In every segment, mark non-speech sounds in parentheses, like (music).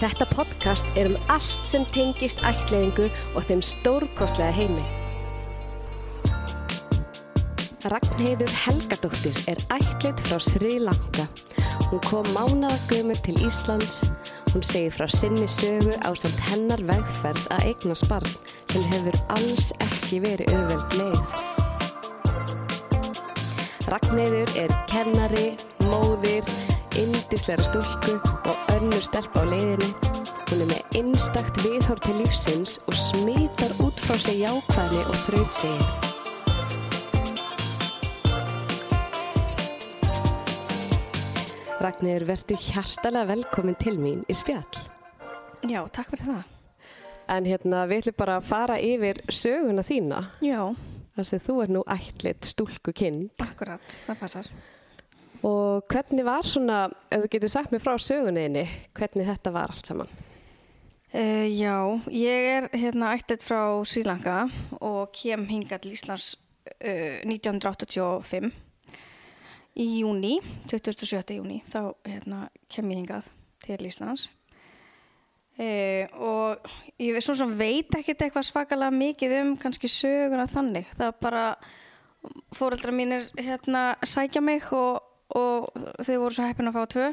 Þetta podcast er um allt sem tengist ættleiðingu og þeim stórkostlega heimi. Ragnheiður Helgadóttir er ættleitt frá Sri Lanka. Hún kom mánadagumur til Íslands. Hún segir frá sinni sögu á samt hennar vegferð að eigna sparn sem hefur alls ekki verið auðveld leið. Ragnheiður er kennari, móðir, yndislega stúlku og önnur stelp á leiðinu. Hún er með einstakt viðhór til lífsins og smitar út frá sig jákvæðni og þrautsegi. Ragnheiður, verðu hjartalega velkomin til mín í spjall. Já, takk fyrir það. En hérna, við ætlum bara að fara yfir söguna þína. Já, Þannig að þú er nú ætlit stúlkukinn. akkurat, það passar. Og hvernig var svona, ef þú getur sagt mér frá söguninni, hvernig þetta var allt saman? Uh, já, ég er hérna ættið frá Sri Lanka og kem hingað til Íslands uh, 1985 í júni, 27. júni, þá hérna kem ég hingað til Íslands. Uh, og ég veit svo sem veit ekkert eitthvað svakalega mikið um kannski söguna þannig. Það var bara, fóreldra mínir hérna sækja mig og, og þau voru svo heppin að fá tvö.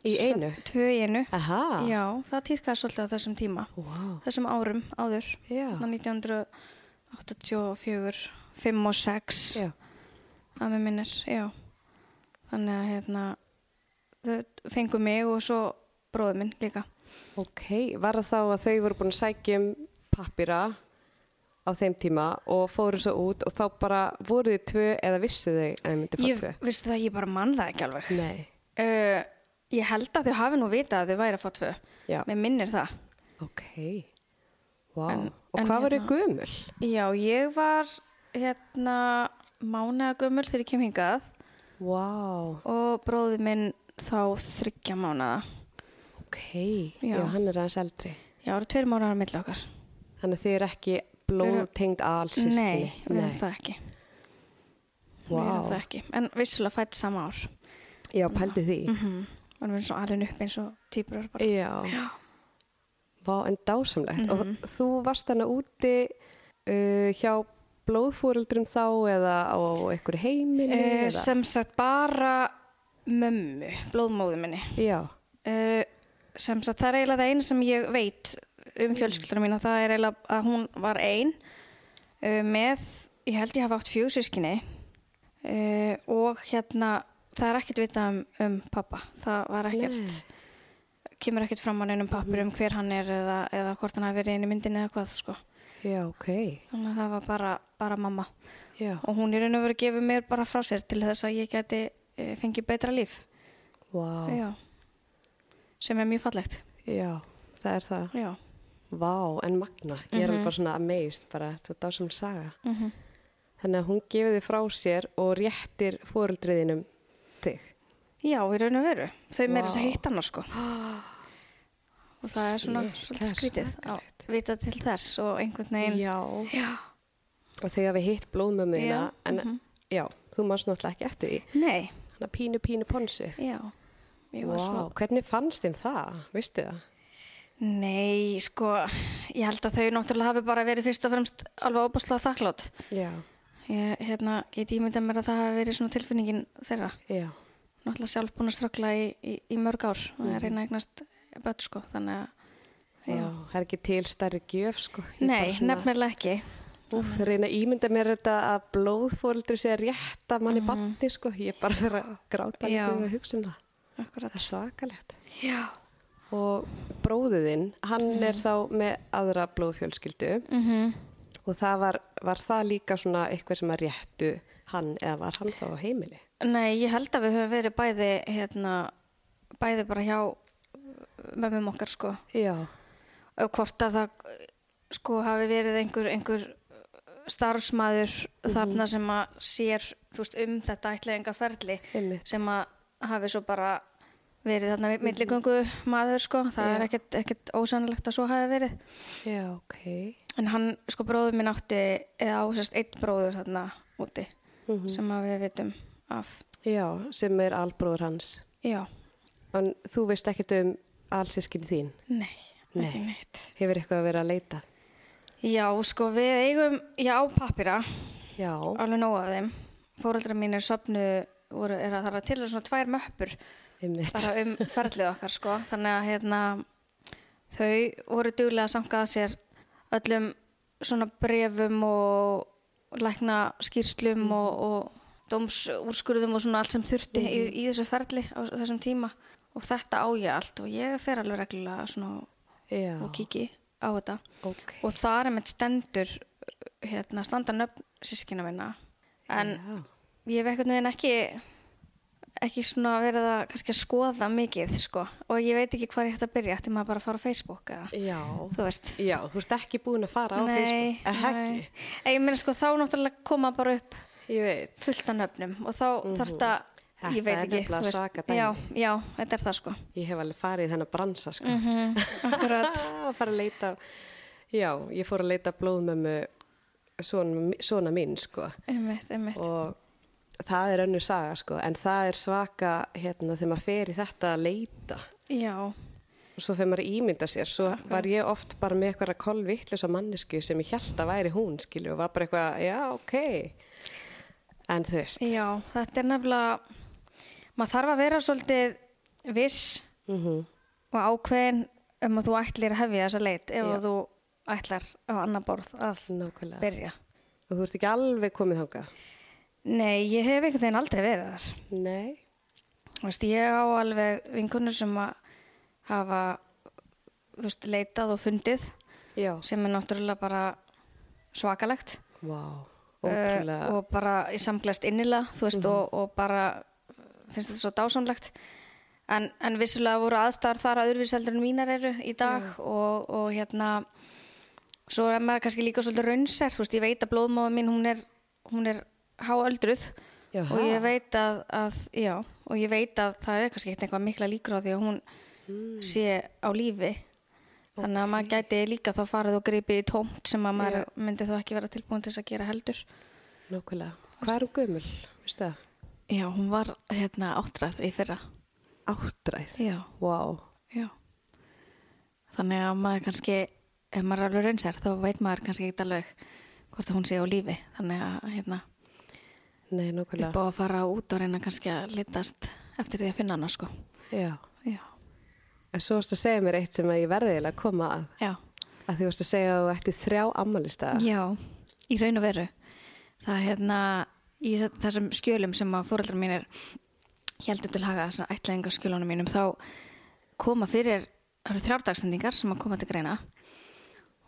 Í Svo- einu? Tvö í einu. Aha. Já, það týðkaði svolítið á þessum tíma, Vá. þessum árum áður, Já. þannig 1984, 5 og 6, Já. að mér minnir, já. Þannig að hérna, þau fengu mig og svo bróðið minn líka. Ok, var það þá að þau voru búin að sækja um pappýra á þeim tíma og fóru svo út og þá bara voru þið tvö eða vissu þau að þau myndi fá Ég, tvö? vistu það, ég bara mann það ekki alveg. Nei, Uh, ég held að þau hafi nú vitað að þau væri að fá tvö. já, Mér minnir það. ok, vá. En- og en hvað voru hérna- gömul? Já, ég var hérna mánagumul þegar ég kem hingað Vá, og bróðið minn þá þryggja mánada. ok, já. Já. hann er aðeins eldri. Já, það eru tveir mánuðar að milla okkar. Þannig að þið eru ekki blóðtengd alsískinni? Nei, við erum það ekki. Við erum það Vá, ekki. En vissulega fætt sama ár. já, pældi því. Mm -hmm. Og við erum svo alveg upp eins og týpur bara. Já. Vá, en dásamlegt. Mhm. Og þú varst þannig úti uh, hjá blóðfóreldrum þá eða á einhverju heimili? Eh, eða? sem sagt bara mömmu, blóðmóðu minni. Já, Uh, sem sagt það er eiginlega það eina sem ég veit um fjölskyldunum mína. Það er eiginlega að hún var ein uh, með, ég held ég hafa átt fjögur sískinni uh, og hérna það er ekkert vitað um, um pappa. Það var ekkert... Nei. kemur ekkert fram á neinum pappur Mhm. um hver hann er eða, eða hvort hann hafi verið inn í myndinni eða hvað sko. já, ok. Þannig að það var bara, bara mamma Já, og hún í raun og veru gefið mér bara frá sér til þess að ég geti e, fengið betra líf. vá, já. Já. Sem er mjög fallegt. það er það. Já. Vá, en magna. Ég er Mhm. alveg bara svona amazed, bara, þú er dásamlega saga. Þannig að hún gefið þið frá sér og réttir fóreldriðinum (gasps) þig. Já, í raun og veru. Þau meira þess að Vá. hitta hann sko. Og það er svona Shit, það svolítið er skrítið að svakalegt. vita til þess og einhvern veginn. Já. Já. Og þau hafi hitt blóðmömmuðina, Já, mhm. en já, þú manst náttúrulega ekki eftir því. Nei. Þannig að pínu, pínu ponsu. Já. Ég Vá, var svona hvernig fannst þeim það? Vistu það? Nei, sko, ég held að þau náttúrulega hafi bara verið fyrst og fremst alveg óbúslega þakklátt. Já, Ég, hérna, get ímyndað mér að það hafi verið svona tilfinningin þeirra. já, Náttúrulega sjálf búin að ströggla í, í, í mörg ár og að reyna að eignast börn, sko, þannig að, já. Vá, það er ekki til stærri gjöf sko. Ég Nei, bara svona- nefnilega ekki. Úff, reyna að ímynda mér þetta að blóðfóreldri sé að rétta manni mm banni sko. Ég er bara fyrir að gráta Já. líka við að hugsa um það. Það Akkurat. er svakalegt. Já. Og bróðiðinn, hann er þá með aðra blóðfjölskyldu Mm og það var, var það líka svona eitthvað sem að réttu hann eða var hann þá á heimili? Nei, ég held að við höfum verið bæði, hérna, bæði bara hjá mömmum okkar, sko. Já, og hvort að það sko hafi verið einhver, einhver starfsmaður Mhm. þarna sem að sér þú veist, um þetta ætlaðinga ferli einmitt. sem að hafi svo bara verið þarna milligöngu maður sko, það er Mhm. Já. ekkert, ekkert ósannlegt að svo hafi verið Já, ok. en hann, sko bróður minn átti eða ásast einn bróður þarna úti Mhm. sem að við vitum af Já, sem er albróður hans. já, En þú veist ekkert um allsískinni þín? Nei, ekki Nei. neitt. Hefur eitthvað að vera að leita? Já, sko, við eigum, já, pappira, Já. alveg nóg af þeim. Fóreldrar mínir söfnu, voru, er að það er til eru svona tvær möppur Einmitt. bara um ferlið okkar, sko. Þannig að, hérna, þau voru duglega að samkaða sér öllum svona brefum og lækna skýrslum og, og dómsúrskurðum og svona allt sem þurfti í, í þessu ferli á þessum tíma. Og þetta á ég allt og ég fer alveg reglulega svona Já. og kiki á þetta Ok. og þar er mitt stendur hérna, standa nöfn sískina minna en Já. ég hef einhvern veginn ekki ekki svona verið að kannski að skoða mikið sko og ég veit ekki hvað ég ætti að byrja ætti maður bara að fara á Facebook eða Já. þú veist Já, þú ert ekki búin að fara á Facebook. Eh, nei. Ekki. En ég meina sko þá náttúrulega koma bara upp Ég veit. fullt af nöfnum og þá mm -hmm. þarf þetta Þetta ég veit er ekki nefnilega þú veist. svaka dæmi. já, já, þetta er það sko Ég hef alveg farið í þennan bransa, sko. mm akkurat (laughs) að fara að leita já, ég fór að leita blóðmömmu svona, svona mín sko einmitt, einmitt og það er önnur saga sko en það er svaka hérna þegar maður fer í þetta að leita já, og svo fer maður að ímynda sér svo var ég oft bara með eitthvað kolvittlösa mannesku sem ég held að væri hún skilju og var bara eitthvað, já, ok en þú veist Já, þetta er nefnilega, maður þarf að vera svolítið viss mm og ákveðin um að þú ætlir að hefja þessa leit ef Já. að þú ætlar á annar borð að nákvæmlega byrja. og þú ert ekki alveg komið þangað Nei, ég hef einhvern veginn aldrei verið þar. nei, Þú Veist, ég á alveg vinkunur sem að hafa þú veist, leitað og fundið já, sem er náttúrulega bara svakalegt. vá uh, ótrúlega, Mhm. og bara ég samglast innilega þú veist og, og bara finnst þetta svo dásamlegt en, en vissulega voru aðstæður þar öðruvís heldur en mínar eru í dag og, og hérna svo er maður kannski líka svolítið raunser þú veist ég veit að blóðmáðu mín hún er hún er háöldruð Jaha. og ég veit að, að já, og ég veit að það er kannski ekkert eitthvað mikla líkur á því að hún Hmm. sé á lífi þannig að maður gæti líka þá farið og gripið í tómt sem að maður myndi þá ekki vera tilbúin til þess að gera heldur nákvæmlega hvað er hún gömul, veistu það? Já, hún var hérna áttræð í fyrra. Áttræð. Já, Vá. Wow. já. Þannig að maður kannski, ef maður er alveg raunsær, þá veit maður kannski ekkert alveg hvort að hún sé á lífi. Þannig að hérna, Nei, upp á nákvæmlega. að fara út og reyna kannski að litast eftir því að finna hana, sko. Já. Já, En svo varst að segja mér eitt sem að ég verði eiginlega að koma að. já, Að því varst að segja að þú ætti þrjá ammalistaða. já, í raun og veru. Það er hérna, í þess- þessum skjölum sem að fóreldrar mínir heldur til haga, þessar ætlaðingaskjölunum mínum, þá koma fyrir, það eru þrjárdagsendingar sem að koma til greina.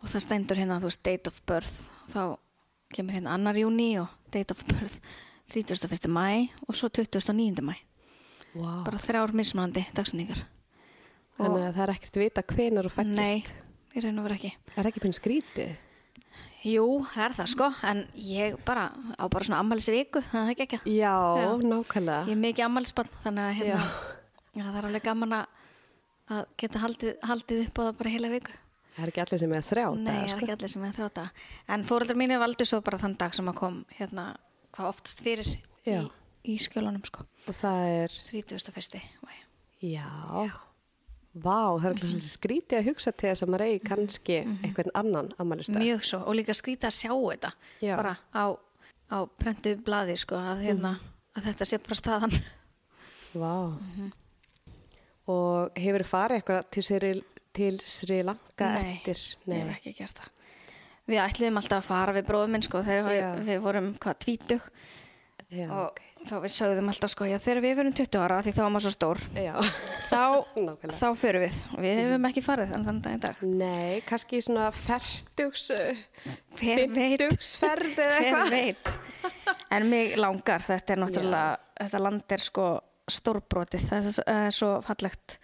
og það stendur hérna, þú veist, date of birth þá kemur hérna annar júni og date of birth 31. mæ og svo 29. mæ Vá. Wow. bara þrjár mismunandi dagsendingar Þannig að það er ekkert vita hvenar þú Nei, fættist. ég reyna að vera ekki Er ekki pinn skrítið? Jú, það er það sko, en ég bara á bara svona ammælisviku, það er ekki ekki Já, nákvæmlega. Ég er mikið ammælisbann, þannig að hérna, Já. já, það er alveg gaman að að geta haldið, haldið upp á það bara heila viku Það er ekki allir sem er að þrjá sko. Nei, það er sko. ekki allir sem er þráta. En fóreldrar mínu valdi svo bara þann dag sem að kom hérna hvað oftast fyrir í, Já. í skjölunum sko. Og það er, 31. mæ. já, vá, það er allir svolítið skrítið að hugsa til þess að maður eigi kannski einhvern annan ammalistað. Mhm. Mjög svo og líka skrýta að sjá þetta Já. bara á, á prentu blaði sko að, hérna, að þetta sé bara staðan. Vá. Mhm. Og hefur farið eitthvað til Sri, til Sri Lanka eftir? Nei, ég hef ekki gert það. Við ætliðum alltaf að fara við bróðuminn sko þegar Já. við, við vorum hvað tvítug Já, og þá við sögðum alltaf sko já þegar við verum 20 ára því þá var maður svo stór já. (laughs) þá, Eh, Nákvæmlega. þá förum við og við hefum ekki farið þann þann dag í dag. Nei, kannski í svona ferdugs, Hver veit, fyrtugsferð eða eitthvað. hver veit. En mig langar, þetta er náttúrulega, þetta land er sko stórbrotið, það er, s- það er svo fallegt.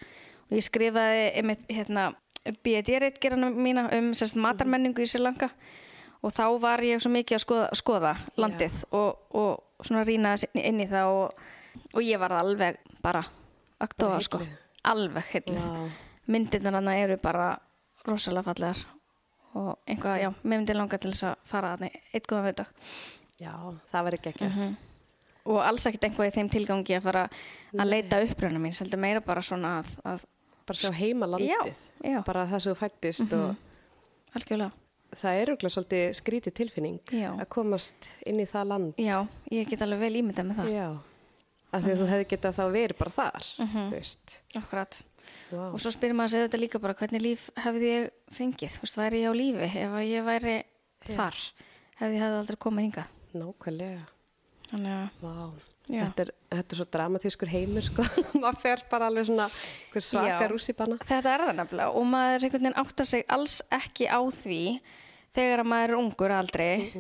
Og ég skrifaði einmitt, hérna, BD-reitgerana mína um sérst, matarmenningu í Sri Lanka og þá var ég svo mikið að skoða, skoða landið og, og svona rýnaði inn í það og, og ég var alveg bara aktóða sko, heilluð. alveg heilluð Vá. myndirnar hann eru bara rosalega fallegar og einhvað, já, mér myndi langa til þess að fara hann eitt góðan veidag Já, það var ekki ekki. Mm Mhm. -hmm. og alls ekkert einhvað í þeim tilgangi að fara að leita uppröna mín, heldur meira bara svona að, að bara sjá heimalandið, Já, Mhm. já. bara það sem þú fættist algjörlega. og það er auðvitað svolítið skrítið tilfinning Já. að komast inn í það land. Já, ég get alveg vel ímyndað með það. Já, af því að þú hefði getað þá verið bara þar, þú veist. Akkurat. Vá. Mhm. Og svo spyrir maður sig auðvitað líka bara hvernig líf hefði ég fengið, þú veist, væri ég á lífi ef að ég væri þar, hefði ég hefði aldrei komið hingað. Nákvæmlega, Þannig að, vá. Já. Þetta er, þetta er svo dramatískur heimur, sko. (laughs) Maður fer bara alveg svona hver svaka Já. rússipanna. þetta er það nefnilega og maður einhvern veginn áttar sig alls ekki á því þegar að maður er ungur aldrei,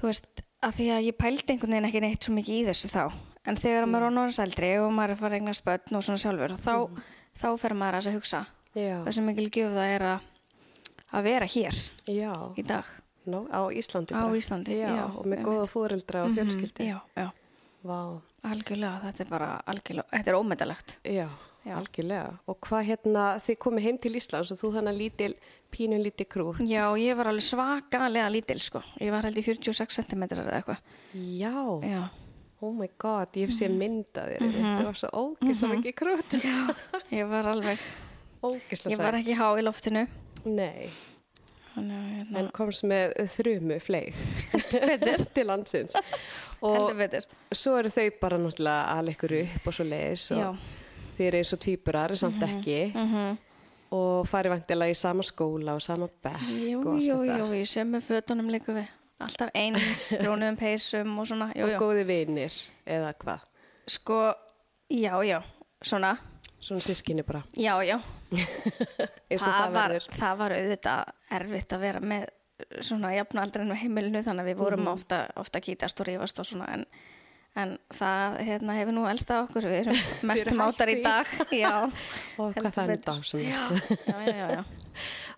þú veist, að því að ég pældi einhvern veginn ekki neitt svo mikið í þessu þá. En þegar mm. maður er onvarins eldri og maður er að fara að eigna spötn og svona sjálfur, þá, þá fer maður að þess að hugsa. Já, Þessu mikil gjöf það er að, að vera hér já. í dag. Nó, á Íslandi Á bara. Íslandi, já. já, og með einmitt. Mhm, góða fóreldra og fjölskyldi. Já, já. Vá, Algjörlega, þetta er bara algjörlega, þetta er ómetalegt. já, Já. algjörlega. Og hvað hérna, þið komið heim til Íslands og þú þannig lítil, pínu lítil krú. Já, ég var alveg svakalega lítil, sko. Ég var held í 46 cm eða eitthvað. Já, Já, oh my god, ég hef séð Mhm. mynd af þér. Þetta var svo ógislega mikið krút. ég var alveg, Ógislega ég var sætt. ekki há í loftinu. Nei, Þannig að, hérna, en komst með þrumu (laughs) fleig betur, til landsins. Og heldur betur. svo eru þau bara náttúrulega að ykkur upp og svo leiðis Já. og þið eru eins og tvíburar, samt ekki Mhm. og farið vantilega í sama skóla og sama bekk Jú, og allt jú, Ah, þetta jú, í sömu fötunum líka við. Alltaf (laughs) eins, brúnum peysum og svona, jú, og jú. góði vinir eða hvað Sko, já, já, svona, svona sískinni bara já, já. eins og það, var, verður það var auðvitað erfitt að vera með svona jafnaldrinu heimilinu þannig að við vorum Mhm. ofta, ofta kýtast og rífast og svona en, en það hérna, hefur nú elst að okkur, (laughs) við erum mest Fyrir mátar í hætti. dag já, (laughs) Og hvað heldur það er betur. dásamlegt. já, já, já, já, já.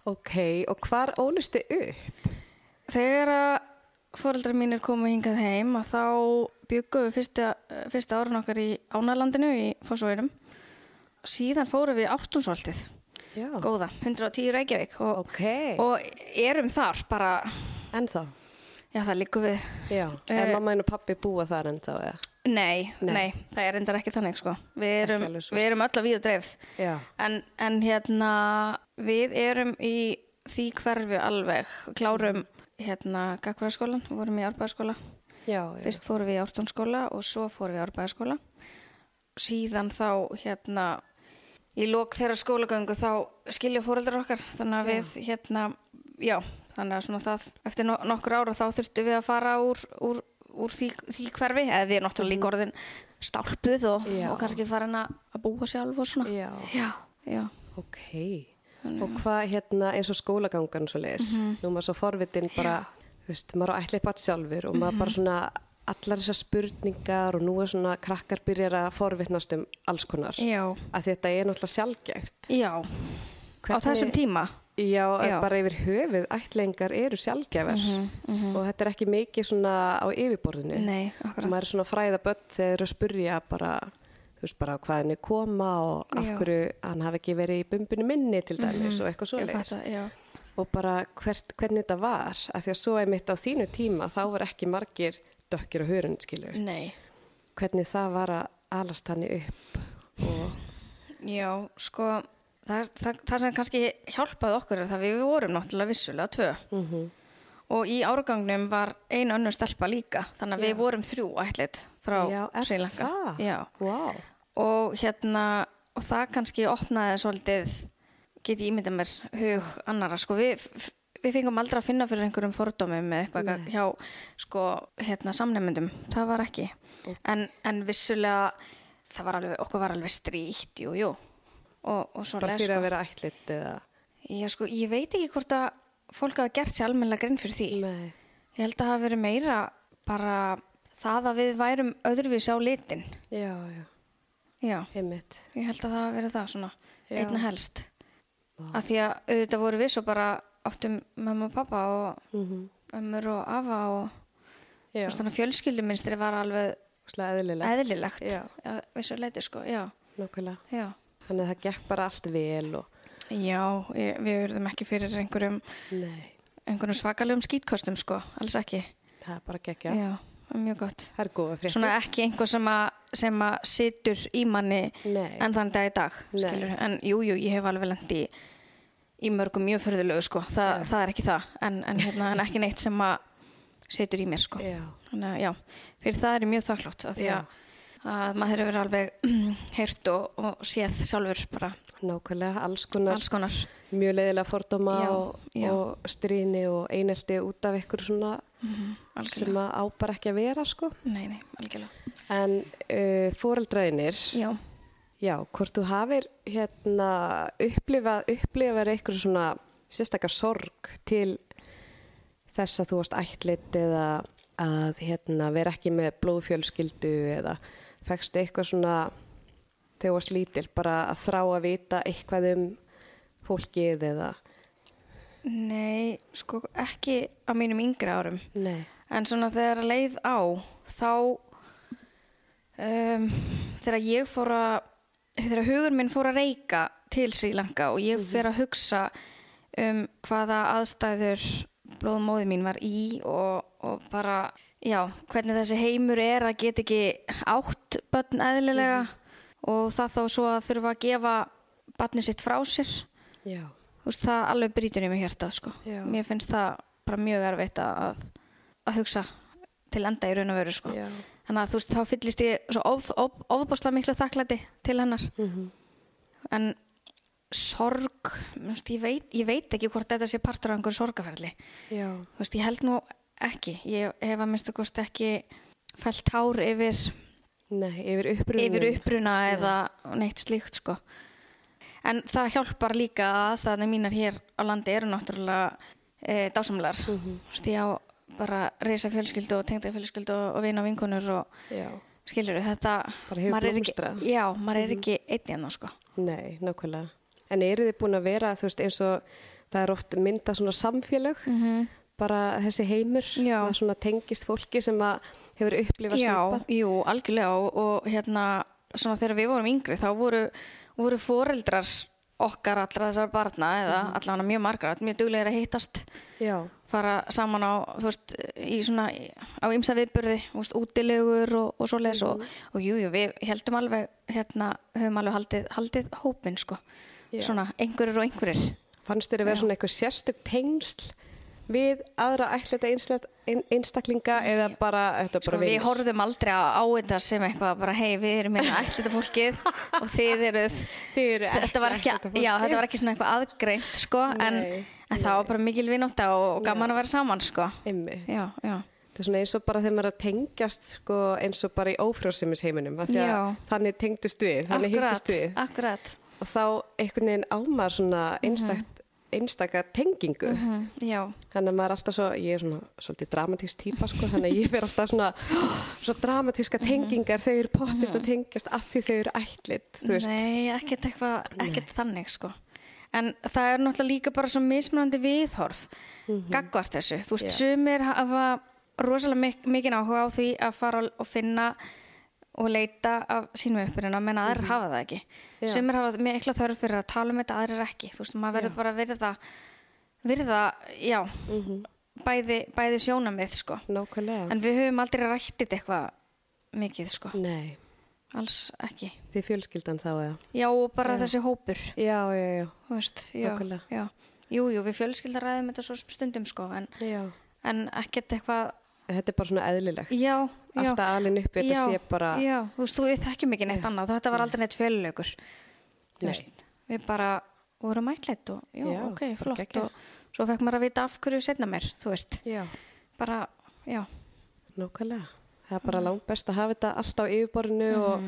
ok, og hvar ólist þið upp Þegar að fóreldrar mínir komu hingað heim að þá byggum við fyrsta, fyrsta árun okkar í Ánalandinu í Fossvöginum síðan fórum við ártúnsvaldið já, góða, 110 Reykjavík og, ok, og erum þar bara ennþá Já, það líku við. já, en Eh, mamma og pappi búa þar ennþá eða Nei, Nei. nei, það er endar ekki þannig, sko. Við erum, alveg svo. við erum öll að víða dreifð. já, En, en hérna, við erum í því hverfi alveg. Klárum hérna Gagvaraskólan, vorum í Árbæðaskóla. já, já. Fyrst fórum við í Ártónskóla og svo fórum við í Árbæðaskóla. Síðan þá, hérna, í lok þeirra skólagöngu þá skilja fóreldrar okkar. Þannig að við, hérna, já, þannig að svona það, eftir no nokkur ára þá þurftum við að fara úr, úr, úr því, því hverfi. Eða við erum náttúrulega líka orðin stálpuð og, Mhm. Já. og kannski farin að að búa sjálf og svona. Já. já. já. ok og hvað hérna eins og skólagangan svo leiðis, Mhm. nú er maður svo forvitin bara, þú veist, maður á ætli eitthvað sjálfur og Mhm. maður bara svona allar þessar spurningar og nú er svona krakkar byrjar að forvitnast um alls konar Já. að þetta er náttúrulega sjálfgæft Já. Hvernig- Á þessum tíma. Já, Já. Mhm, bara yfir höfuð ættlengar eru sjálfgjafar og þetta er ekki mikið svona á yfirborðinu. Nei, Og akkurat. Maður er svona fræðaböld þegar þeir eru að spurja bara, þú veist, bara hvaðan er koma og af Já. Mhm. hverju hann hafi ekki verið í bumbinu minni til dæmis og eitthvað Ég svoleiðis. fatta, já. Og bara hvert, hvernig þetta var, af því að svo einmitt á þínu tíma þá voru ekki margir dökkir og hörund, skilur. Nei. Hvernig það var að alast hann upp og, Já, sko, það, það, það sem kannski hjálpaði okkur er það við vorum náttúrulega vissulega tvö. mhm. Og í árgangnum var einu önnur stelpa líka, þannig að við vorum þrjú ætlit frá já, er Sri Lanka. það? Já, Vá, og hérna, og það kannski opnaði svolítið, get ég ímyndað mér, hug annara, sko, við, við fengum aldrei að finna fyrir einhverjum fordómum eða eitthvað hjá, sko, hérna, samnefndum, það var ekki. En, en vissulega, það var alveg, okkur var alveg stríkt, jú, jú. Og, og svo bara leið, fyrir sko. að vera ættlit eða... Já, sko, ég veit ekki hvort að fólk hafa gert sér almennilega grinn fyrir því. Nei. Ég held að það hafi verið meira bara það að við værum öðruvísi á litin. Já, já, Já, einmitt. ég held að það hafi verið það svona, Já. einna helst. Að því að auðvitað voru við svo bara áttum mamma og pappa og Mm ömmur og afa og Já, og svona fjölskylduminstri var alveg svolítið eðlilegt, eðlilegt. Já. Já, við svo leiti, sko, já, nokkulega. já. Þannig að það gekk bara allt vel og Já, ég, við verðum ekki fyrir einhverjum, nei, einhverjum svakalegum skýtkostum, sko, alls ekki. það bara gekk já. já mjög gott. Það er góða frétt. Svona ekki einhver sem að sem að situr í manni Nei. en þann dag í dag Nei. skilur. en jú, jú, ég hef alveg lendi í mörgum mjög förðulegu sko. Þa, það er ekki það en, en, hérna, en ekki neitt sem að situr í mér sko. Já. þannig að já, fyrir það er ég mjög þakklátt af því Já. að, að maður hefur alveg mm, heyrt og, og séð sjálfur bara Nákvæmlega, alls konar, alls konar mjög leiðilega fordóma Já, og, já. og stríni og einelti út af ykkur svona sem Mhm, algjörlega, að ábar ekki að vera sko. nei, nei, algjörlega En uh, fóreldraðinir, já, já, hvort þú hafir hérna upplifað, upplifað eitthvað svona sérstakar sorg til þess að þú varst ættlit eða að hérna vera ekki með blóðfjölskyldu eða fegst eitthvað svona þegar þú varst lítil bara að þrá að vita eitthvað um fólkið eða nei sko ekki á mínum yngri árum Nei, En svona þegar leið á, þá um, þegar ég fór að, þegar hugur minn fór að reyka til Sri Lanka og ég fyrir að hugsa um hvaða aðstæður blóðmóði mín var í og, og bara, já, hvernig þessi heimur er að geta ekki átt börn eðlilega og það þá svo að þurfa að gefa barni sitt frá sér. já, Þú veist, það alveg brýtur í mig hértað, sko. Já. Mér finnst það bara mjög erfitt að, að hugsa til enda í raun og veru, sko. já, Þannig að þú veist, þá fyllist ég svo of, of, ofbásla miklu þakklæti til hennar. Mhm. En sorg, þú veist, ég, veit, ég veit ekki hvort þetta sé partur af einhver sorgaferli. já, Þú veist, ég held nú ekki. Ég hef að minnstu kosti ekki fælt hár yfir nei, yfir upprunum. yfir uppruna eða neitt slíkt sko. En það hjálpar líka að aðstæðanir mínar hér á landi eru náttúrulega e, dásamlegar. Mm Mhm. -hmm. Ég á bara reysa fjölskyldu og tengda fjölskyldu og vina vinkonur og Já, skilur þetta. Bara hefur maður er blómstrað. Mhm. Ekki, já, maður er ekki einn enn sko. nei, nákvæmlega. En eru þið búin að vera, þú veist, eins og það er oft mynda svona samfélög, -hmm. bara þessi heimur, Mhm. Já. það svona tengist fólki sem að hefur upplifað Já, svipað. jú, algjörlega og, og hérna, svona þegar við vorum yngri þá voru, voru foreldrar okkar allra þessar barna eða Mhm. mm. allavega mjög margar, mjög duglegir að hittast Já, fara saman á, þú veist, í svona, á ymsa viðburði, þú veist, útilegur og, og svoleiðis Mhm. og, og jú, jú, við heldum alveg, hérna, höfum alveg haldið, haldið hópin, sko, Já. svona, einhverjir og einhverjir. fannst þér að vera svona eitthvað sérstök tengsl við aðra ætlita einstaklinga eða bara, þetta er Sko, bara við vinir? horfðum aldrei á, á þetta sem eitthvað, bara, hei, við erum meina ætlita fólkið (laughs) og þið eruð, Þið eru ekki þetta var ekki, ættleitt fólk. já, þetta var ekki svona eitthvað aðgreint, sko, en, Nei, en það var bara mikil vinóta og, og gaman að vera saman, sko. Einmitt. Já, já. Það er svona eins og bara þegar maður er að tengjast sko, eins og bara í ófrjósemis heiminum Já. þannig tengdust við, þannig hittust við Akkurat, akkurat. og þá einhvern veginn ámar svona einstakt, einstaka tengingu Mhm, Já. þannig að maður er alltaf svo, ég er svona svolítið dramatísk típa sko, þannig að ég fer alltaf svona (gasps) svo dramatíska Mhm. tengingar þau eru pottitt að tengjast að því þau eru ætlit, þú veist, Nei, ekkert eitthvað, ekkert þannig sko. En það er náttúrulega líka bara svo mismunandi viðhorf Mhm. gagvart þessu. Þú veist, sumir hafa rosalega mik mikinn áhuga á því að fara og finna og leita af sínum uppruna, menn aðrir hafa það ekki. Mhm. Já. Sumir hafa mikla þörf fyrir að tala um þetta, aðrir ekki. Þú veist, maður verður bara að virða, virða, já, Mhm. bæði, bæði sjónamið sko. nákvæmlega En við höfum aldrei rættið eitthvað mikið sko, Nei, alls ekki. þið fjölskyldan þá eða Já, og bara þessi hópur, Já, já, já, þú veist, já, Nákvæmlega. já. Jú, jú, við fjölskyldar ræðum þetta svo sem stundum, sko, en, já. en ekkert eitthvað, Þetta er bara svona eðlilegt já, já. Alltaf alin upp í þetta já, sé bara Já, þú veist, þú við þekkjum ekki neitt annað, þetta var aldrei neitt fjölulegur. Nei. Við bara vorum ætlætt og, já, Já, ok, bara flott, geggjað. og svo fekk maður að vita af hverju setna mér, þú veist, Já, bara, já, nákvæmlega. Það er Mhm. bara langt best að hafa þetta allt á yfirborðinu og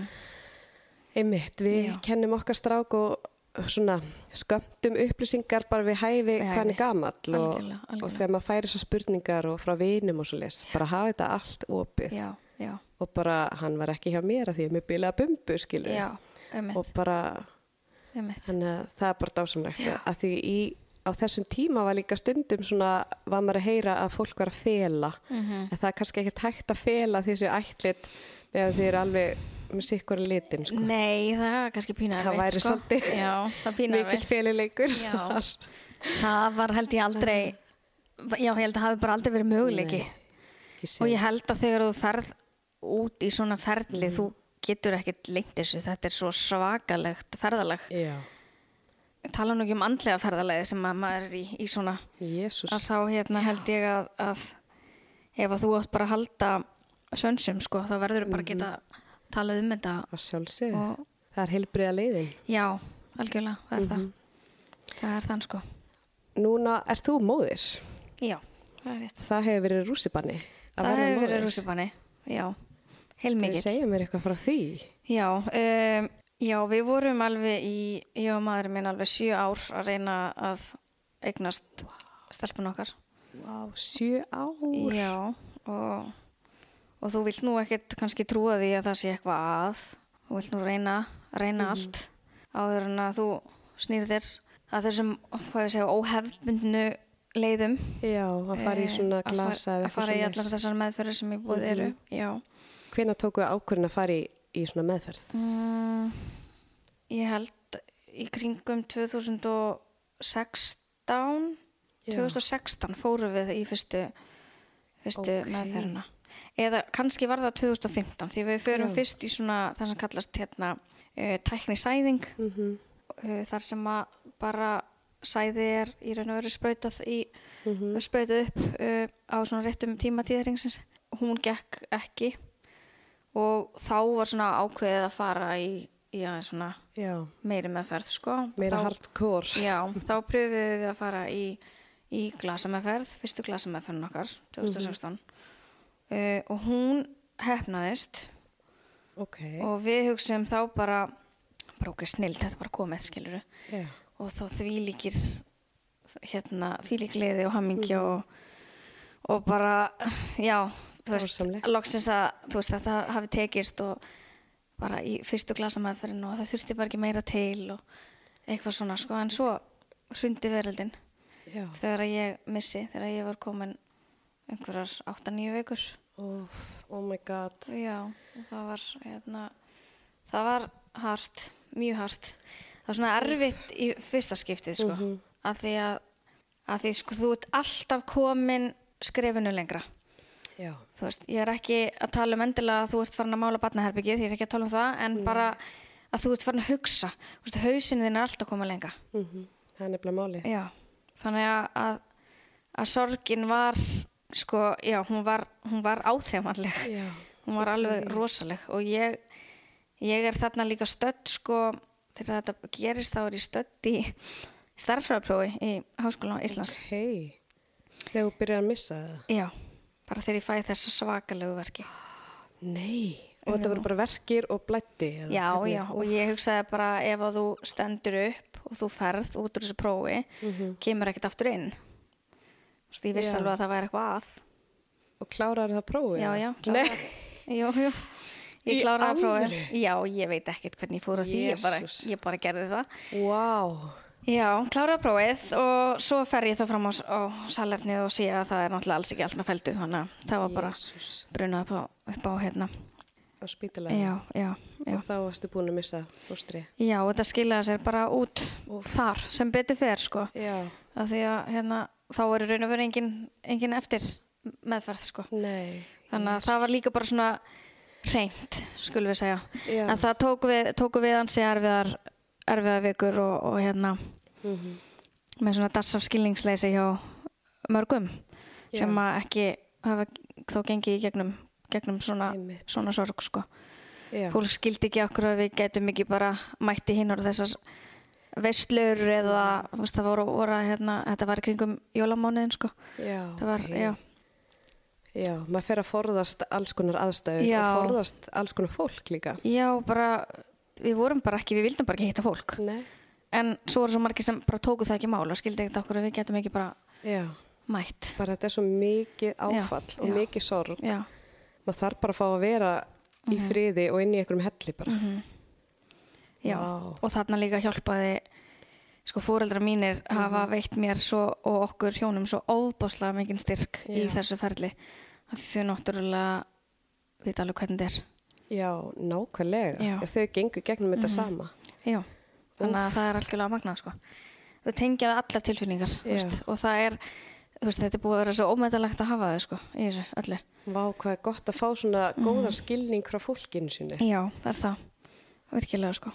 einmitt, við Já. kennum okkar strák og svona skömmtum upplýsingar bara við hæfi Við hvað hann er hæfi. gamall og, Algjörlega, algjörlega. og þegar maður færi þessar spurningar og frá vinum og svo bara hafa þetta allt opið já, já, og bara hann var ekki hjá mér að því að mér bilaði bumbu skilur já, og ömmit, bara ömmit, þannig að það er bara dásamlegt að því í, á þessum tíma var líka stundum svona var maður að heyra að fólk var að fela Mhm. en það er kannski ekkert hægt að fela því þessu ætlit meðan þið eru alveg með sikkur litin sko. Nei, það var kannski pínar það væri sko. svolítið Já, það (laughs) pínar mikill felileikur Já. (laughs) þar. Það var held ég aldrei, já ég held að það hafi bara aldrei verið möguleiki Nei, ekki og séns. ég held að þegar þú ferð út í svona ferli, þú getur ekkert lengt þessu, þetta er svo svakalegt ferðalag. Já, Tala nú ekki um andlega ferðalagi sem að maður er í, í svona, jésús. að þá hérna held ég að, að ef að þú átt bara að halda sönsum sko, þá verður bara að geta talað um þetta. Að sjálfsögðu. Og- Það er heilbriða leiðin. Já, algjörlega, það er það. Það er þann sko. Núna, er þú móðir? Já, það er rétt. Það hefur verið rússipanni. að Það verða hefur verið móðir. rússipanni, já, heilmikið. Þau segja mér eitthvað frá því. Já, um, já, við vorum alveg í, ég og maður minn alveg sjö ár að reyna að eignast stelpun okkar. Vá, sjö ár. Já, og, og þú vilt nú ekkert kannski trúa því að það sé eitthvað að, þú vilt nú reyna, reyna Mhm. allt áður en að þú snýr þér að þessum, hvað ég segja, óhefbundnu leiðum. Já, að fara í eh, svona að fara- glasa eða Að fara í svoleiðis. Mhm. allar þessar meðferðir sem ég búið eru, já. Hvenær tókuðu ákvörðin að fara í, í svona meðferð? Mm, ég held í kringum 2016 Já. 2016 fórum við í fyrstu, fyrstu Ókei. meðferðina eða kannski var það 2015 því við förum Já. fyrst í svona það sem kallast hérna uh, tæknisæðing Mm -hmm. uh, þar sem að bara sæði er í raun og veru sprautað í mhm. sprautað upp uh, á svona réttum tímatíðringsins hún gekk ekki og þá var svona ákveðið að fara í, í aðeins svona Já, meiri meðferð sko meira þá, hardcore. Já, þá pröfuðum við að fara í, í glasameðferð, fyrstu glasameðferðin okkar 2016 Mhm. uh, og hún hefnaðist Ok, og við hugsaum þá bara bara okkur snill, þetta er bara komið skiluru já. og þá því líkir hérna, því lík gleði og hammingi og, og bara já, þú veist, Dásamlegt. loksins að þú veist, þetta hafi tekist og bara í fyrstu glasamæðferðin og það þurfti bara ekki meira til og eitthvað svona, sko, en svo hrundi veröldin já. þegar ég missi, þegar ég var komin einhverjar 8-9 vikur Oh, oh my god. já, og það var hérna, það var hart mjög hart það var svona erfitt í fyrsta skiptið Mhm. sko, að því að, að því sko þú ert alltaf komin skrefinu lengra Já, þú veist, ég er ekki að tala um endilega að þú ert farin að mála batnaherbyggið, ég er ekki að tala um það en bara að þú ert farin að hugsa þú veist, hausinu þinn er alltaf að koma lengra mm það er nefnilega málið. Já, þannig að, að, að sorgin var sko, já, hún var, hún var áþreifanleg Já. hún var alveg rosaleg og ég, ég er þarna líka stödd sko, þegar þetta gerist þá er ég stödd í starffræðaprófi í Háskóla Íslands Hei, þegar þú byrjar að missa það? Já, bara þegar ég fæ þessa svakalegu verki Nei, og þetta voru bara verkir og blætti. eða Já, hvernig? já, og ég hugsaði bara ef að þú stendur upp og þú ferð út úr þessu prófi kemur ekkert aftur inn Þú veist, ég vissi Mhm. Já. alveg að það væri eitthvað að Og klárar það prófið? Já, já, Nei, kláraði. Jú, jú. Ég Í kláraði að prófa. alvöru? Já, ég veit ekkert hvernig ég fór að því, ég bara, Jesús. ég bara gerði það. vá. Já, kláraði að prófið og svo fer ég þá fram á, s- á salernið og sé að það er náttúrulega alls ekki allt með feldu, þannig að það var bara Jesús, brunað upp á, upp á hérna. á spítalega. Já, já, já. Og þá varstu búin að missa fóstri. Já, og þetta skilaði sér bara út þar sem betur fer, sko. Já. Af því að hérna, þá er í raun og verið engin, engin eftir meðferð, sko. Nei. Þannig að það var líka bara svona reynt, skulum við segja. Já. En það tóku við, tóku við ansi erfiðar, erfiðar vikur og, og hérna Mhm. með svona dass af skilningsleysi hjá mörgum Já. sem að ekki hafa þó gengið í gegnum, gegnum svona, Einmitt. svona sorg sko. Já. Fólk skildi ekki okkur að við getum ekki bara mætti hinn og þessar vestlur eða þú veist, það voru, voru að, hérna, þetta var í kringum jólamánuðin sko. Já. Það var, ok. já. Já, maður fer að forðast alls konar aðstæður Já. og forðast alls konar fólk líka. Já, bara, við vorum bara ekki, við vildum bara ekki hitta fólk. Nei. En svo voru svo margir sem bara tóku það ekki mál og skildi ekkert okkur að við getum ekki bara Já. mætt. Bara þetta er svo mikið áfall og já. mikið sorg. Já, Mhm. maður þarf bara að fá að vera í friði og inn í einhverjum helli bara. já. Vá. Og þarna líka hjálpaði, sko, fóreldra mínir hafa Mhm. veitt mér svo og okkur hjónum svo óbáslega mikinn styrk í Já. þessu ferli. Af því Þau náttúrulega vita alveg hvernig þetta er. Já, nákvæmlega. Já. Mhm. Já. Þau gengur gegnum þetta sama. Já, þannig að það er algjörlega magnað sko. Þau tengja við allar tilfinningar Já. veist, og það er þú veist, þetta er búið að vera svo ómetalegt að hafa þau sko, í þessu öllu. Vá, hvað er gott að fá svona Mhm. góðan skilning frá fólkinu sinni. Já, það er það, virkilega sko.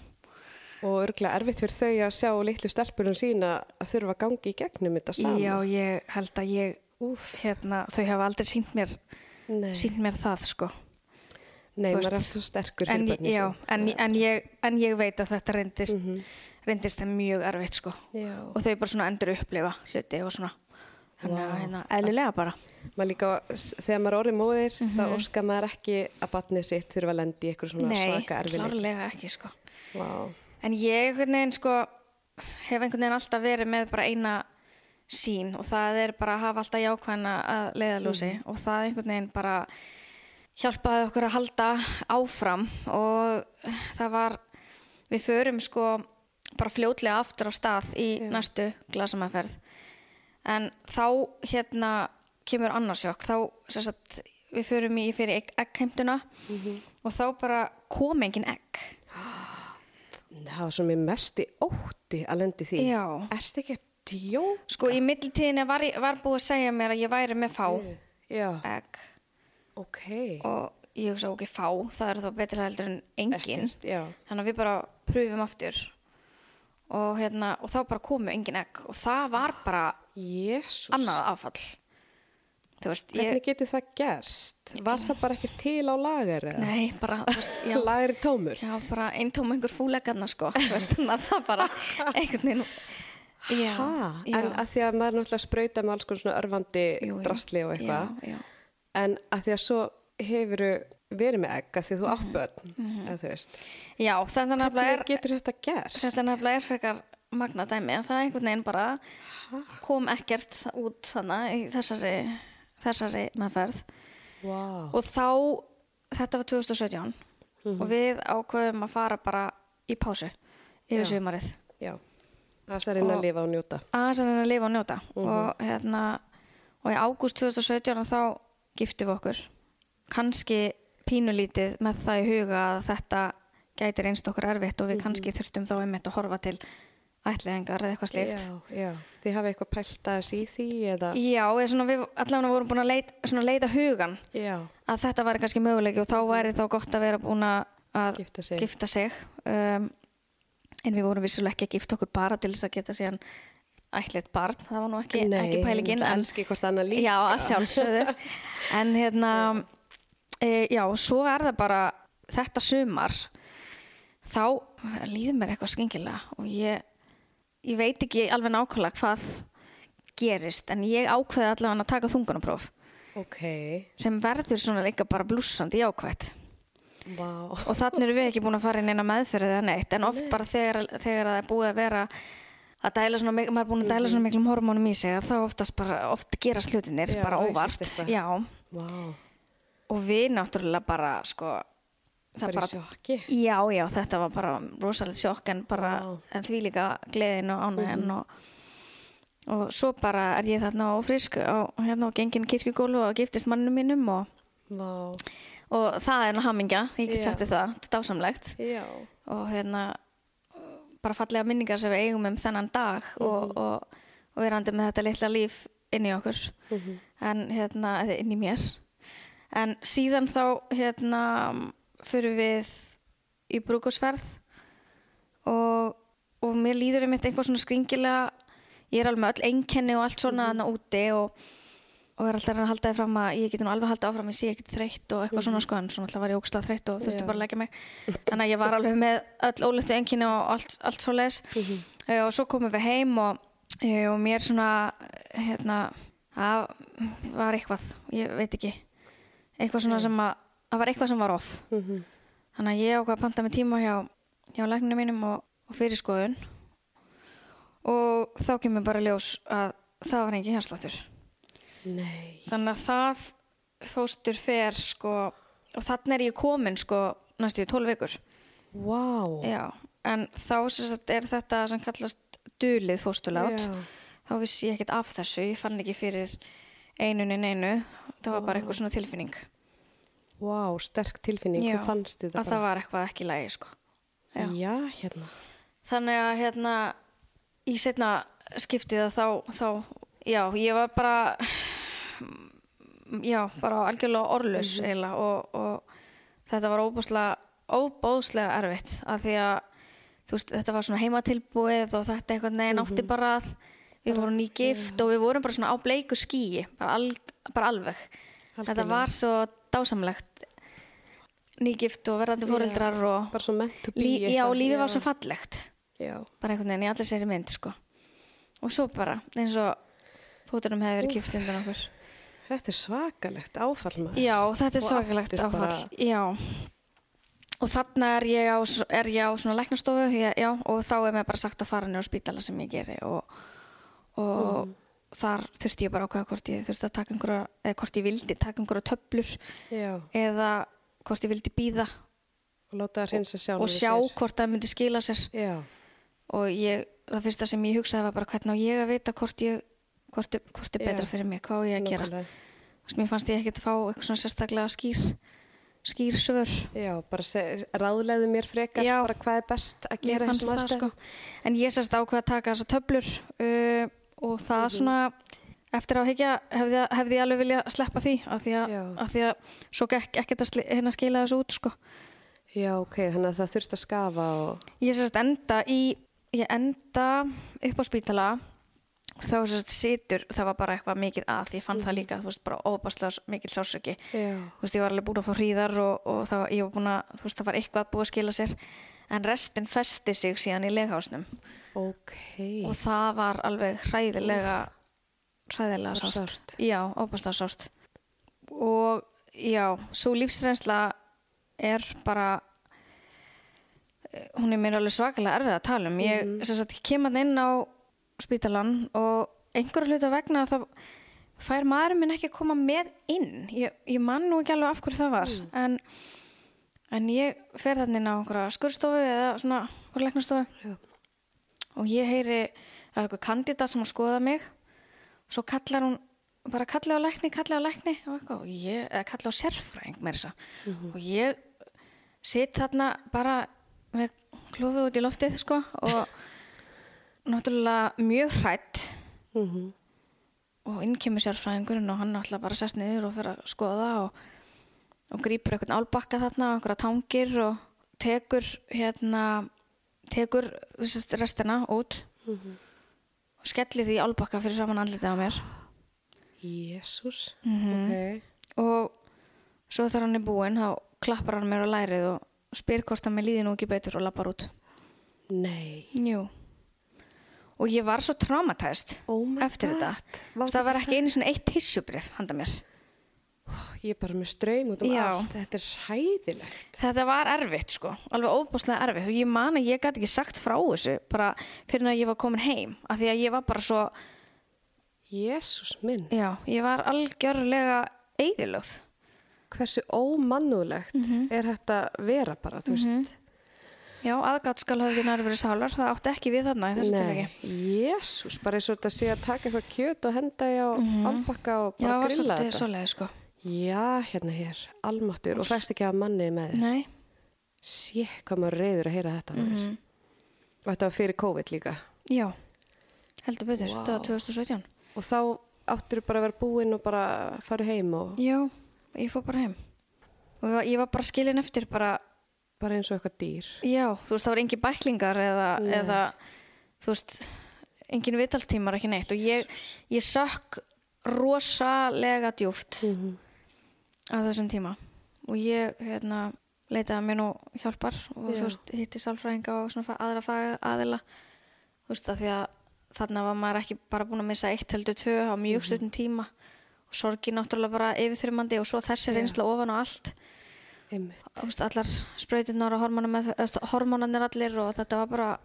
Og örgulega erfitt fyrir þau að sjá litlu stelpunum sína að þurfa að gangi í gegnum þetta saman. Já, ég held að ég, Úf, hérna, þau hafa aldrei sínt mér, nei, sínt mér það sko. nei þú maður er veist. alltaf sterkur En, fyrir ég- börnin sín. já, Mhm. en, en, ég, en ég veit að þetta reyndist, reyndist þeim mjög erfitt sko. Já. Og þau bara svona endur upplifa hluti og svona, þannig að Vá. hérna, eðlilega bara. Maður líka, þegar maður er orðið móðir, þá óskar maður ekki að batnið sitt þurfa að lendi í eitthvað svona Mhm. Nei, svaka erfileg. klárlega ekki sko. Vá, En ég einhvern veginn sko hef einhvern veginn alltaf verið með bara eina sín og það er bara að hafa alltaf jákvæðina að leiðalúsi og það einhvern veginn bara hjálpaði okkur að halda áfram og það var, við förum sko bara fljótlega aftur á stað í næstu glasamæferð en þá hérna kemur annarsjokk, þá sem sagt, við förum í fyrir egg- eggheimtuna og þá bara kom engin egg. það var svona mér mest í ótti að lendi því. Já. Ertu ekki að djó? Sko í millitíðinni var, ég- var búið að segja mér að ég væri með fá Já, egg ok. og ég hugsa ok, fá, það er þá betra heldur en engin. Ekkert, já. Þannig að við bara pröfum aftur og, hérna, og þá bara komu engin egg og það var bara Jésús. annað áfall. Þú veist, Hvernig ég... getur það gerst? Var það bara ekkert til á lagar eða? Nei, bara, þú veist, (laughs) já. Lagar er tómur. Já, bara eintóm einhver fúlegarna sko, þú veist, þannig að það (laughs) bara einhvern veginn, já, Ha, já, en að því að maður náttúrulega sprauta með alls konar svona örfandi Jú, jú. drastli og eitthvað. Já, já. En að því að svo hefur verið með egg að því að þú átt börn, eða þú veist. já, þannig að Hvernig Mhm. er, getur þetta gerst? Þetta nefnilega er frekar magna dæmi að það einhvern veginn bara kom ekkert út þannig í þessari, þessari meðferð Vá. og þá, þetta var 2017 og við ákveðum að fara bara í pásu yfir sumarið Já, það er reyna að lifa og njóta. aðeins að reyna að lifa og njóta og hérna og í ágúst 2017 að þá giftum við okkur kannski pínulítið með það í huga að þetta gæti reynst okkur erfitt og við kannski þurftum þá einmitt að horfa til ætliðingar eða eitthvað slíkt Já, já. Þið hafa eitthvað pælt aðeins í því eða? Já, eða svona við allavega vorum búin að leita, svona leita hugan Já. að þetta væri kannski möguleiki og þá væri þá gott að vera búin að- að Gifta sig. gifta sig. Um, en við vorum vissulega ekki að gifta okkur bara til þess að geta síðan ætlit barn, það var nú ekki, ekki pælingin. Nei, en- elski hvort annað líka. Já, að (laughs) sjálfsögðu. en hérna, e, já, svo er það bara þetta sumar, þá líður mér eitthvað skengilega og ég, ég veit ekki alveg nákvæmlega hvað gerist, en ég ákveði allavega að taka þungunapróf Ok, sem verður svona líka bara blúsandi jákvætt vá. og þannig erum við ekki búin að fara inn eina meðferð eða neitt en oft bara þegar, þegar það er búið að vera að dæla svona, mik- maður er búin að dæla svona miklum hormónum í sig að þá oftast bara, oft gerast hlutinir Já, bara það óvart hugsaðist eitthvað. já, Vá. og við náttúrulega bara sko, Það er bara sjokki. já, já, þetta var bara rosalega sjokk en bara, Vá. Mhm. en því líka gleðin og ánægin og, og svo bara er ég þarna og frisk og hérna og gengin kirkugólu og giftist mannum mínum og Vá. og það er nú hamingja, ég get Já. sagt þér það, þetta er dásamlegt Já. og hérna bara fallega minningar sem við eigum um þennan dag og, Mhm. og, og við randum með þetta litla líf inn í okkur Mhm, en hérna, eða inn í mér en síðan þá hérna fyrir við í brúkusverð og, og mér líður um eitthvað svona skringilega ég er alveg með öll einkenni og allt svona þarna úti og, og er alltaf að reyna að halda þið fram að ég geti nú alveg haldið áfram, ég sé ekkert þreytt og eitthvað svona sko, en svona alltaf var ég ógstlega þreytt og þurfti Já. bara að leggja mig þannig að ég var alveg með öll ólöftu enginni og allt, allt svo les og svo komum við heim og, eh, og mér svona hérna, það var eitthvað ég veit ekki eitthvað svona sem að, það var eitthvað sem var off Mhm. þannig að ég ákvað að panta með tíma hjá, hjá lækninu mínum og, og fyrir skoðun og þá kemur bara í ljós að það var engin hérsláttur Nei. þannig að það fóstur fer sko og þannig er ég komin sko næstu í 12 vikur Vá. Já, en þá sem sagt, er þetta sem kallast dulið fóstulát. Já. Þá vissi ég ekkert af þessu, ég fann ekki fyrir einunin einu. Það var bara eitthvað svona tilfinning. Vá, sterk tilfinning. Já, Hvað fannst þið Að það var eitthvað ekki í lagi, sko. Já. Já, hérna. Þannig að hérna, í setna skiptið að þá, þá já, ég var bara, já, bara algjörlega orðlaus Mhm. eiginlega og, og þetta var óbúslega, óbúslega erfitt að því að þú veist, þetta var svona heimatilbúið og þetta einhvern Mhm. veginn átti bara að við vorum nýgift og við vorum bara svona á bleiku skýi, bara, al, bara alveg. Þetta Algjörlega. var svo dásamlegt nýgift og verðandi fóreldrar og Bara svo meant to be. Lí, já, eitthvað. lífið var svo fallegt Já, bara einhvern veginn í allir sér mynd sko. og svo bara eins og fótunum hefur verið kipt undan okkur þetta er svakalegt áfall maður. já, þetta er Og svakalegt aftur áfall já og þarna er ég á, er ég á svona læknastofu ég, já, og þá er mér bara sagt að fara niður á spítala sem ég geri og, og þar þurfti ég bara ákveða hvort ég þurfti að taka einhverja eða hvort ég vildi taka einhverja töflur Já, eða hvort ég vildi býða og láta það hreinsa sjálf. og sjá hvort það myndi skila sér Já, og ég, það fyrsta sem ég hugsaði var bara hvernig á ég að vita hvort ég hvort, er- hvort er Já. betra fyrir mig, hvað á ég að gera nákvæmlega. Þú veist, mér fannst ég ekkert fá eitthvað svona sérstaklega skýr skýr svör Já, bara seg, ráðleðu mér frekar Já. bara hvað er best að mér gera fannst það sko aðstæðum. en ég sérst ákveð að taka þessar töflur uh, og það Mhm. svona eftir á higgja hefði, hefði ég alveg vilja sleppa því af því að, Já. af því að svo gekk ekkert að sli- hérna skila þessu út sko Já, ok, þannig að það þurft að skafa og... Ég sérst enda í, ég enda upp á spítala þá sérst situr, það var bara eitthvað mikið að ég fann það líka, þú veist, bara óbærslega mikil sásöki. Já. Þú veist, ég var alveg búin að fá hríðar og, og það, ég var búin að, þú veist, það var eitthvað búið að skila sér en restin festi sig síðan í leghásnum Ok. og það var alveg hræðilega, hræðilega Bara sárt. sárt. Já, óbærslega sárt. Og já, svo lífsreynsla er bara eh, hún er mér alveg svakalega erfið að tala um ég mm -hmm. kem hann inn á spítalan og einhverju hluta vegna þá fær maður minn ekki að koma með inn ég, ég man nú ekki alveg af hverju það var en, en ég fer þannig inn á einhverja skurstofu eða svona einhverja læknastofu Já. og ég heyri það er einhver kandidat sem að skoða mig svo kallar hún bara kalli á lækni, kalli á lækni og eitthvað, og ég, eða kalli á sérfræðing með þessa Mhm, og ég sitt þarna bara með klófið út í loftið sko og (laughs) náttúrulega mjög hrætt Mm og inn kemur sérfræðingurinn og hann náttúrulega bara sest niður og fyrir að skoða og, og grýpur einhvern álbakka þarna og einhverja tangir og tekur hérna tekur sest, restina út mhm. og skellir því í álbakka fyrir saman andlitið á mér Jésús. Mhm. og svo þegar hann er búinn þá klappar hann mér á lærið og spyr hvort hann með líði nú ekki betur og lappar út Ok. Nei. Jú og ég var svo traumatæst Oh my eftir God. þetta Vá, Vá, það var ekki einu svona eitt tissubrif handa mér Ég er bara með straum út um Já. allt. Þetta er hæðilegt. þetta var erfitt sko, alveg óbúslega erfitt og ég man að ég gæti ekki sagt frá þessu bara fyrir að ég var komin heim af því að ég var bara svo, Jésús minn. já, ég var algjörlega eigðilöð Hversu ómannúlegt Mhm. er þetta að vera bara, þú veist. já, aðgátt skal höfði nærfyrir sálar það átti ekki við þarna í þessu tilvægi Nei, jésús, bara eins og þetta sé að taka eitthvað kjöt og henda í á mm og Mhm. Já, bara var grilla svolítið þetta. svoleiði sko. Já, hérna hér, almáttur og fæst ekki að manni með þér. Nei, Mhm. Sé hvað maður er reyður að heyra þetta mm Og þetta var fyrir COVID líka. já, heldur betur, Vá. þetta var 2017. Og þá áttur bara að vera búinn og bara fara heim og Já, ég fór bara heim. Og ég var, ég var bara skilin eftir bara, bara eins og eitthvað dýr. já, þú veist, það var engin bæklingar eða, eða þú veist, engin vitaltímar, ekki neitt. Og ég, ég sökk rosalega djúft Mhm, á þessum tíma. Og ég, hérna, leitaði mér nú hjálpar og Já. þú veist, hitti sálfræðinga og svona fa- aðra fag, aðila. þú veist að því að þarna var maður ekki bara búin að missa eitt heldur tvö á mjög Mhm. stundum tíma og sorgi náttúrulega bara yfirþyrmandi og svo þessi reynsla ofan á allt Einmitt. Þú veist, allar sprautinnar og hormónum með, hormónarnir allir og þetta var bara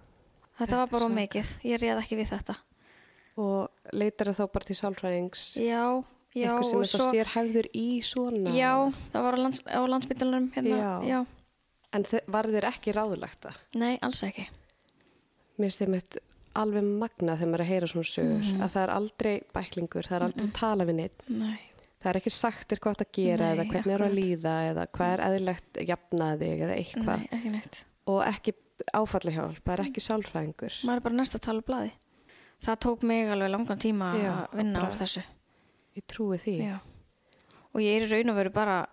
þetta var bara of mikið, ég réð ekki við þetta Og leitar þá bara til sálfræðings. já, já eitthvað sem og er þá sér hefður í svona. já, það var á, lands, á landsbytalanum hérna, Já. já. En þe- var þér ekki ráðlagt það? nei, alls ekki Mér finnst þeim eitt alveg magna þegar maður er að heyra svona sögur Mhm. að það er aldrei bæklingur, það er aldrei að tala við neitt nei, það er ekki sagt þér hvað það gera Nei, eða hvernig eru að akkurat. líða eða hvað er eðlilegt jafnaði eða eitthvað nei, Mm. ekki neitt og ekki áfallahjálp, það er ekki sálfræðingur maður er bara næst að tala blaði það tók mig alveg langan tíma Já, að vinna bara- á þessu. Ég trúi því. Já. Og ég er í raun og veru bara,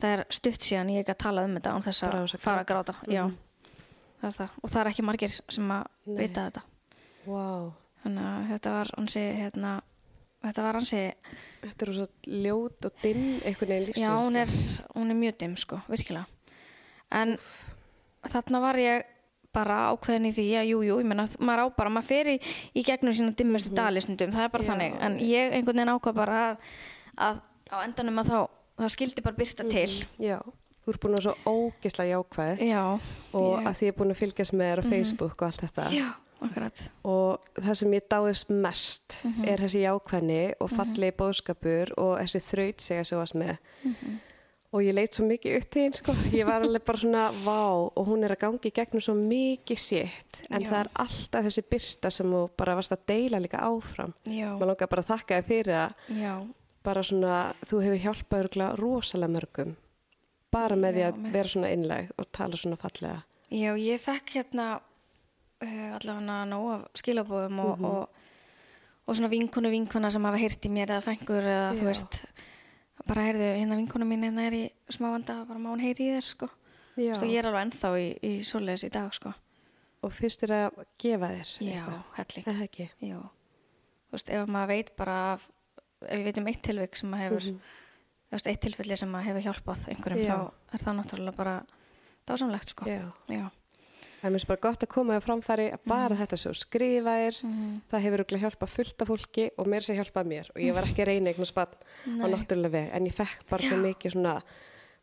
það er stutt síðan ég ekki að tala um þetta án þess Bara að án þess að fara að gráta. Já, það er það. Og það er ekki margir sem að Mm. Nei. vita þetta. Vá, Þannig að þetta var ansi, hérna, þetta var ansi, þetta er svo ljót og dimm einhvern veginn lífsins. já, hún er, hún er mjög dimm, sko, virkilega. En þarna var ég bara ákveðin í því, já, jú, jú, ég menna, maður á bara, maður fer í, í gegnum sína dimmustu dali stundum, það er bara Mhm. Já, þannig. En ég einhvern veginn ákvað bara að, að á endanum að þá, það skildi bara byrta Mhm. til. Mm, Eh, Já, þú ert búin að vera svo ógisla jákvæð Já. Mhm. og ég- að því ég er búin að fylgjast með þér á Facebook og allt þetta. Já, akkurat. Og það sem ég dáðist mest Mhm. er þessi jákvæðni og fallegi bóðskapur og þessi þraut segja sem þú varst með. Mhm. Og ég leit svo mikið upp til hinn, sko. Ég var alveg bara svona, vá, og hún er að gangi í gegnum svo mikið sitt. En Já. það er alltaf þessi byrta sem þú bara varst að deila líka áfram. Já, Mér langar bara að þakka þér fyrir það. já, bara svona, þú hefur hjálpað örugglega rosalega mörgum bara með því Já, að með- vera svona innleg og tala svona fallega já, ég fekk hérna uh, allavega nóg af skilabóðum Mhm. og, og, og svona vinkonu vinkona sem hafa heyrt í mér eða frængur eða þú Já. veist, bara heyrðu, hérna vinkonu mín hérna er í smá vanda, bara má hún heyri í þér, sko. Já. Svo ég er alveg ennþá í, í svoleiðis í dag, sko. og fyrst er að gefa þér Já, eitthvað. helling. Er það ekki Já, þú veist, ef maður veit bara af, ef við veitum eitt tilvik sem maður hefur, þú veist, eitt tilfelli sem maður hefur hjálpað einhverjum, Mhm. Já. þá er það náttúrulega bara dásamlegt, sko. Já. Já, það er mér finnst bara gott að koma þér á framfæri að bara þetta svo skrifa þér Mhm. það hefur örugglega hjálpað fullt af fólki og mér sé hjálpað mér og ég var ekki að reyna einhvern spann á Nei. náttúrulega veg en ég fekk bara svo mikið svona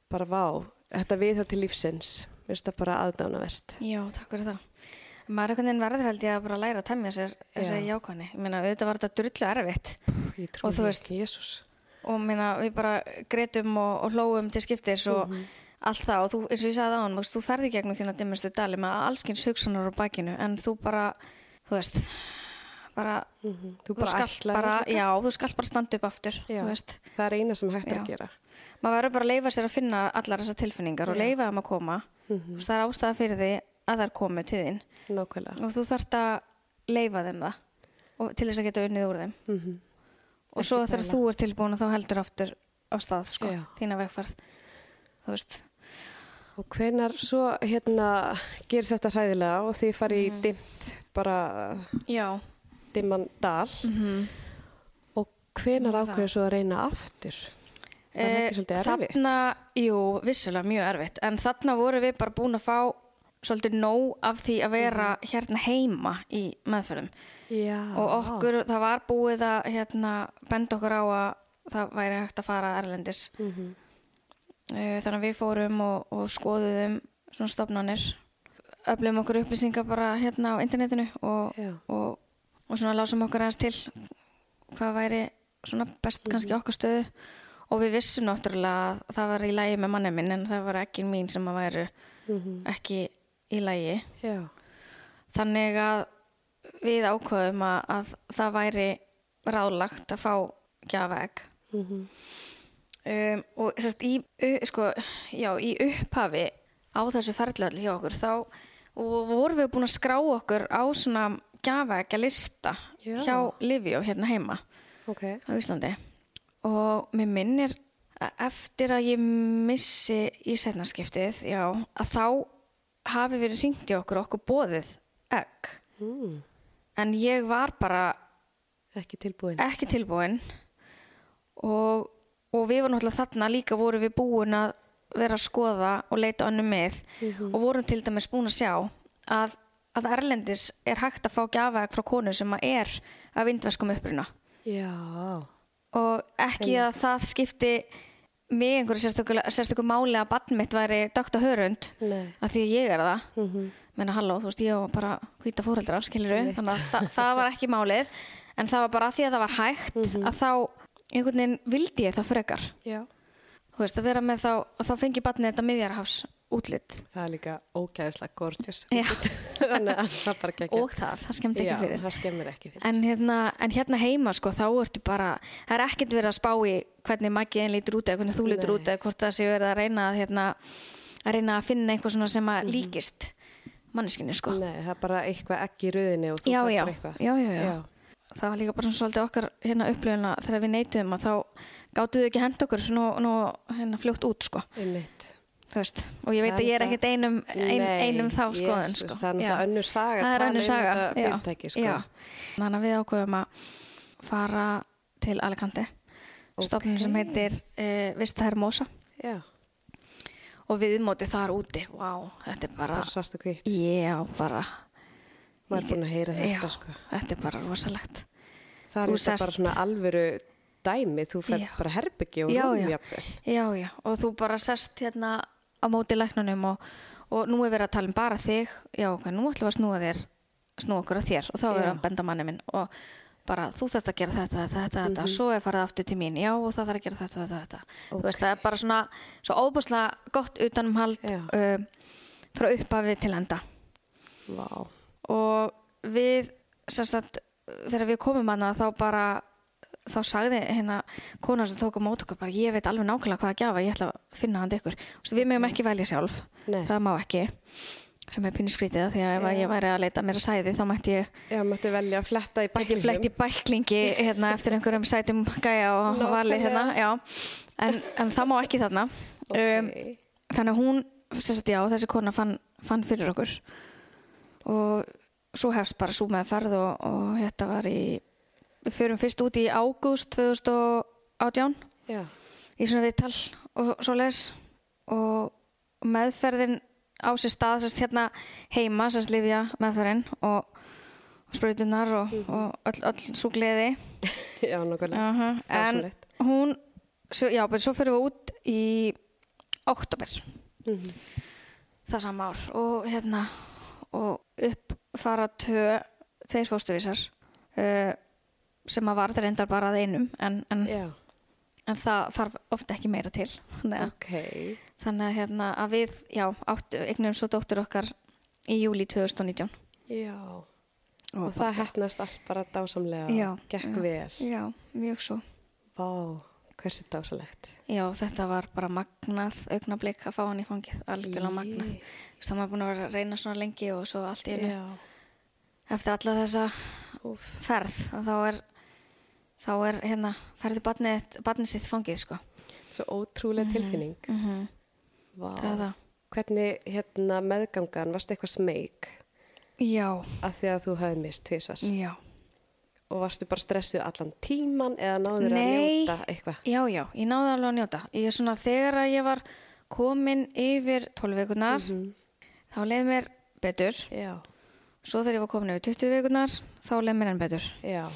bara vá, þetta viðhjálp til lífsins mér finnst það bara aðdánavert Já takk fyrir það. Maður er einhvern veginn verður held ég að bara læra að temja sér þessi Já. jákvæðni. Ég meina, auðvitað var þetta drullu erfitt ég trúi Og þú því veist- ekki, Jesús og meina, við bara greitum og, og hlóum til skiptis og Mhm. allt það og þú, eins og ég sagði á hann, þú ferði gegnum þína dimmustu dali með allskins hugsanar á bakinu en þú bara, þú veist, bara, Mhm. Þú bara skalt ætlaðir bara, líka. já, þú skalt bara standa upp aftur, Já. þú veist. það er eina sem hægt er Já. að gera Maður verður bara að leifa sér að finna allar þessar tilfinningar og leifa þeim að koma, Mhm. þú veist, það er ástæða fyrir því að þær komu til þín nákvæmlega og þú þarft að leifa þeim það og, til þess að geta unnið úr þeim Mhm. og svo þegar þú er tilbúin þá heldur aftur á stað sko, Já. þína vegferð þú veist, Og hvenar svo hérna gerist þetta hræðilega og þið farið í dimmt, bara já dimman dal Mhm. og hvenar ákveður svo að reyna aftur? Var Það er ekki svolítið erfitt. Eh, þarna, jú, vissulega mjög erfitt en þarna vorum við bara búin að fá svolítið nóg af því að vera hérna heima í meðferðum Mhm. Já. og okkur, það var búið að hérna, benda okkur á að það væri hægt að fara erlendis Mhm, Eh, þannig að við fórum og, og skoðuðum svona stofnanir öflum okkur upplýsingar bara hérna á internetinu og, Já. og, og svona lásum okkur aðeins til hvað væri svona best kannski okkar stöðu og við vissum náttúrulega að það var í lægi með manni minn en það var ekki mín sem að væru ekki í lægi Já. þannig að við ákvaðum að, að það væri rálagt að fá gjafegg Mhm. um, og sérst, í, u, sko, já, í upphafi á þessu ferðlöðli hjá okkur þá og vorum við búin að skrá okkur á svona gafækja lista Já. hjá Livjó hérna heima Ok. á Íslandi og mér minnir að eftir að ég missi í setnaskiptið, já, að þá hafi verið hringt í okkur og okkur bóðið egg Mm. en ég var bara Ekki tilbúin. ekki tilbúin og, og við vorum náttúrulega þarna líka vorum við búin að vera að skoða og leita önnum með og vorum til dæmis búin að sjá að, að Erlendis er hægt að fá gjafaðeg frá konu sem að er af indverskum uppruna Já. og ekki að það skipti mig einhverju sérstöku, sérstöku máli að barn mitt væri dökta hörund Nei. að því að ég er það Mm -hmm. menna halló, þú veist, ég var bara hvita fóreldra, skilur við, þannig að það, það var ekki málið, en það var bara af því að það var hægt Mhm. að þá, einhvern veginn vildi ég það frekar, Já. þú veist, að vera með þá að þá fengi barnið þetta miðjarhafs útlit Það er líka ógæðislega gorgeous. Já. (laughs) Þannig að það bara gekkja. og það, það skemmt ekki Já, fyrir það skemmir ekki fyrir. en hérna, en hérna heima sko, þá ertu bara, það er ekkert verið að spá í hvernig magiðin lítur út eða hvernig þú lítur Nei. út eða hvort það sé verið að reyna að, hérna, að reyna að finna einhver svona sem Mhm. að líkist manneskinni sko Nei, það er bara eitthvað ekki í röðinni og þú já færð já. bara eitthvað. já, já, já, Já. það var líka bara svona svolítið okkar hérna upplöfuna þegar við neytum að þá gáttu þau ekki hend okkur nú, nú hérna fljótt út sko einmitt. þú veist og ég veit að ég er ekkert einum, ein, Nei, einum þá skoðun Jesús, sko Það er Já. náttúrulega önnur saga. það er tala önnur um saga þetta já, Fyrirtæki, sko. já. þannig að við ákveðum að fara til Alicante okay. stofnun sem heitir uh, Vista Hermosa Já, og viðmóti þar úti wow, þetta er bara bara svart og hvitt. já, bara Maður er búin að heyra þetta, já, sko. þetta er bara rosalegt Það er Þú líka sest- bara svona alvöru dæmi. Þú fer Já. bara herbyggi og Já, já. rúmjafnvel. já, já, og þú bara sest hérna á móti læknunum og, og nú er verið að tala um bara þig já, ok, nú ætlum við að snúa þér snúa okkur að þér og þá er Já. það að benda manni minn og bara þú þarft að gera þetta, þetta, þetta, þetta svo er farið aftur til mín, já og það þarf að gera þetta, þetta, þetta þú veist, það er bara svona svo óbúslega gott utanumhald Já. uh, frá upphafi til enda Vá. og við sem sagt, þegar við komum hana þá bara þá sagði hérna kona sem tók á mót okkur bara ég veit alveg nákvæmlega hvað að gjafa ég ætla að finna hann til ykkur Þú veist, við mögum ekki velja sjálf Nei. það má ekki sem er pínu skrítið af því að ef að ég væri að leita mér að sæði þá mætti ég Já, mætti velja að fletta í ekki bæklinum. flett í bæklingi hérna, eftir einhverjum sætum gæja og Nákvæmlega. valið hérna, já. en, en það má ekki þarna um, Ok. þannig að hún sem sagt já, þessi kona fann, fann fyrir okkur og svo hefst bara sú með ferð og, og þetta var í við förum fyrst út í ágúst 2018 Já, í svona viðtal og svo les og meðferðin á sér stað sérst hérna heima sérst lifja meðferðin og, og sprautunar og, og öll, öll svo gleði já, nokkulega. uh en Dásamlegt. hún svo, já, bara svo fyrir við út í oktober Mhm. það sama ár og hérna og upp fara tvö tveir fóstuvísar uh, sem að varð reyndar bara að einum en, en, Já, en það þarf ofta ekki meira til þannig að ok. Þannig að, hérna, að við, já, áttu, eignum svo dóttur okkar í júli 2019. Já. Og það hefnast allt bara dásamlega. Já. Gekk vel. Já, mjög svo. Vá, hversu dásalegt. Já, þetta var bara magnað augnablik að fá hann í fangið, algjörlega Í. magnað. Þú veist, Það maður búin að vera að reyna svona lengi og svo allt í einu. Já. Eftir alla þessa Úf. ferð, að þá er, þá er, hérna, ferði barnið, barnið sitt fangið, sko. Svo ótrúlega tilfinning. Mm -hmm. Vá. Það er það. Hvernig hérna meðgangan, varst eitthvað smeyk Já, að því að þú hafði mist tvisar? já. Og varstu bara stressuð allan tíman eða náður að Nei. njóta eitthvað? Já, já, ég náði alveg að njóta. Ég er svona þegar að ég var komin yfir 12 vikunar, Mhm. þá leið mér betur. Já. Svo þegar ég var komin yfir 20 vikunar, þá leið mér enn betur. Já.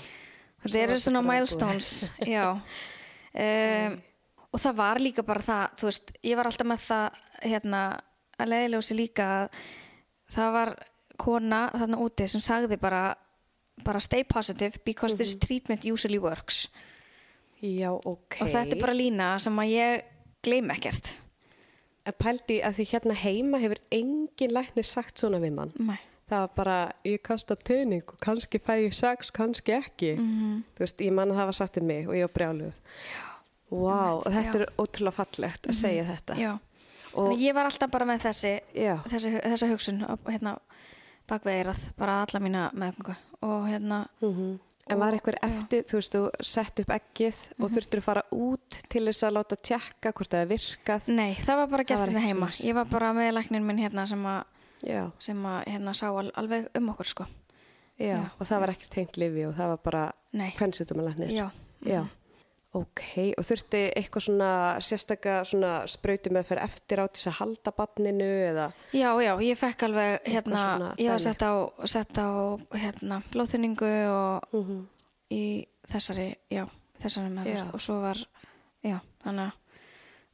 Þetta eru varstu svona bara milestones, já. Um, og það var líka bara það, þú veist, ég var alltaf með það, hérna, að leiðiljósi líka að það var kona þarna úti sem sagði bara, bara stay positive because this treatment usually works. Já, ok. Og þetta er bara lína sem að ég gleym ekkert. En pældi að Eh, því hérna heima hefur engin læknir sagt svona við mann. Nei. Það var bara, ég kasta töning og kannski fæ ég sex, kannski ekki. Mhm. -hmm. Þú veist, ég manna það var sagt um mig og ég var brjáluð. Vá, wow, Einmitt, þetta já. Mhm. er ótrúlega fallegt að segja þetta. Já. Og- Og ég var alltaf bara með þessi, Já. þessi, þessa hugsun á- hérna, bakveirað, bara alla mína meðgöngu og hérna, En var eitthvað eftir, þú veist, þú sett upp ekkið Mhm. og þurftur að fara út til þess að láta tjekka hvort það er virkað. nei, það var bara var gestinni ekkert heima, svoleiðis. ég var bara með læknin minn hérna sem að, Já, sem að hérna, sá al, alveg um okkur sko, já, Já. og það var ekkert tengt lifi og það var bara Nei. kvensutumalæknir. Já. Mhm. Já, ok, og þurfti eitthvað svona sérstaka svona sprautum að fyrir eftir á til þess að halda barninu eða, já, já, ég fekk alveg hérna, svona ég var dæmi. sett á, sett á hérna, blóðþynningu og í þessari, já, þessari meðverð Já. og svo var, já, þannig að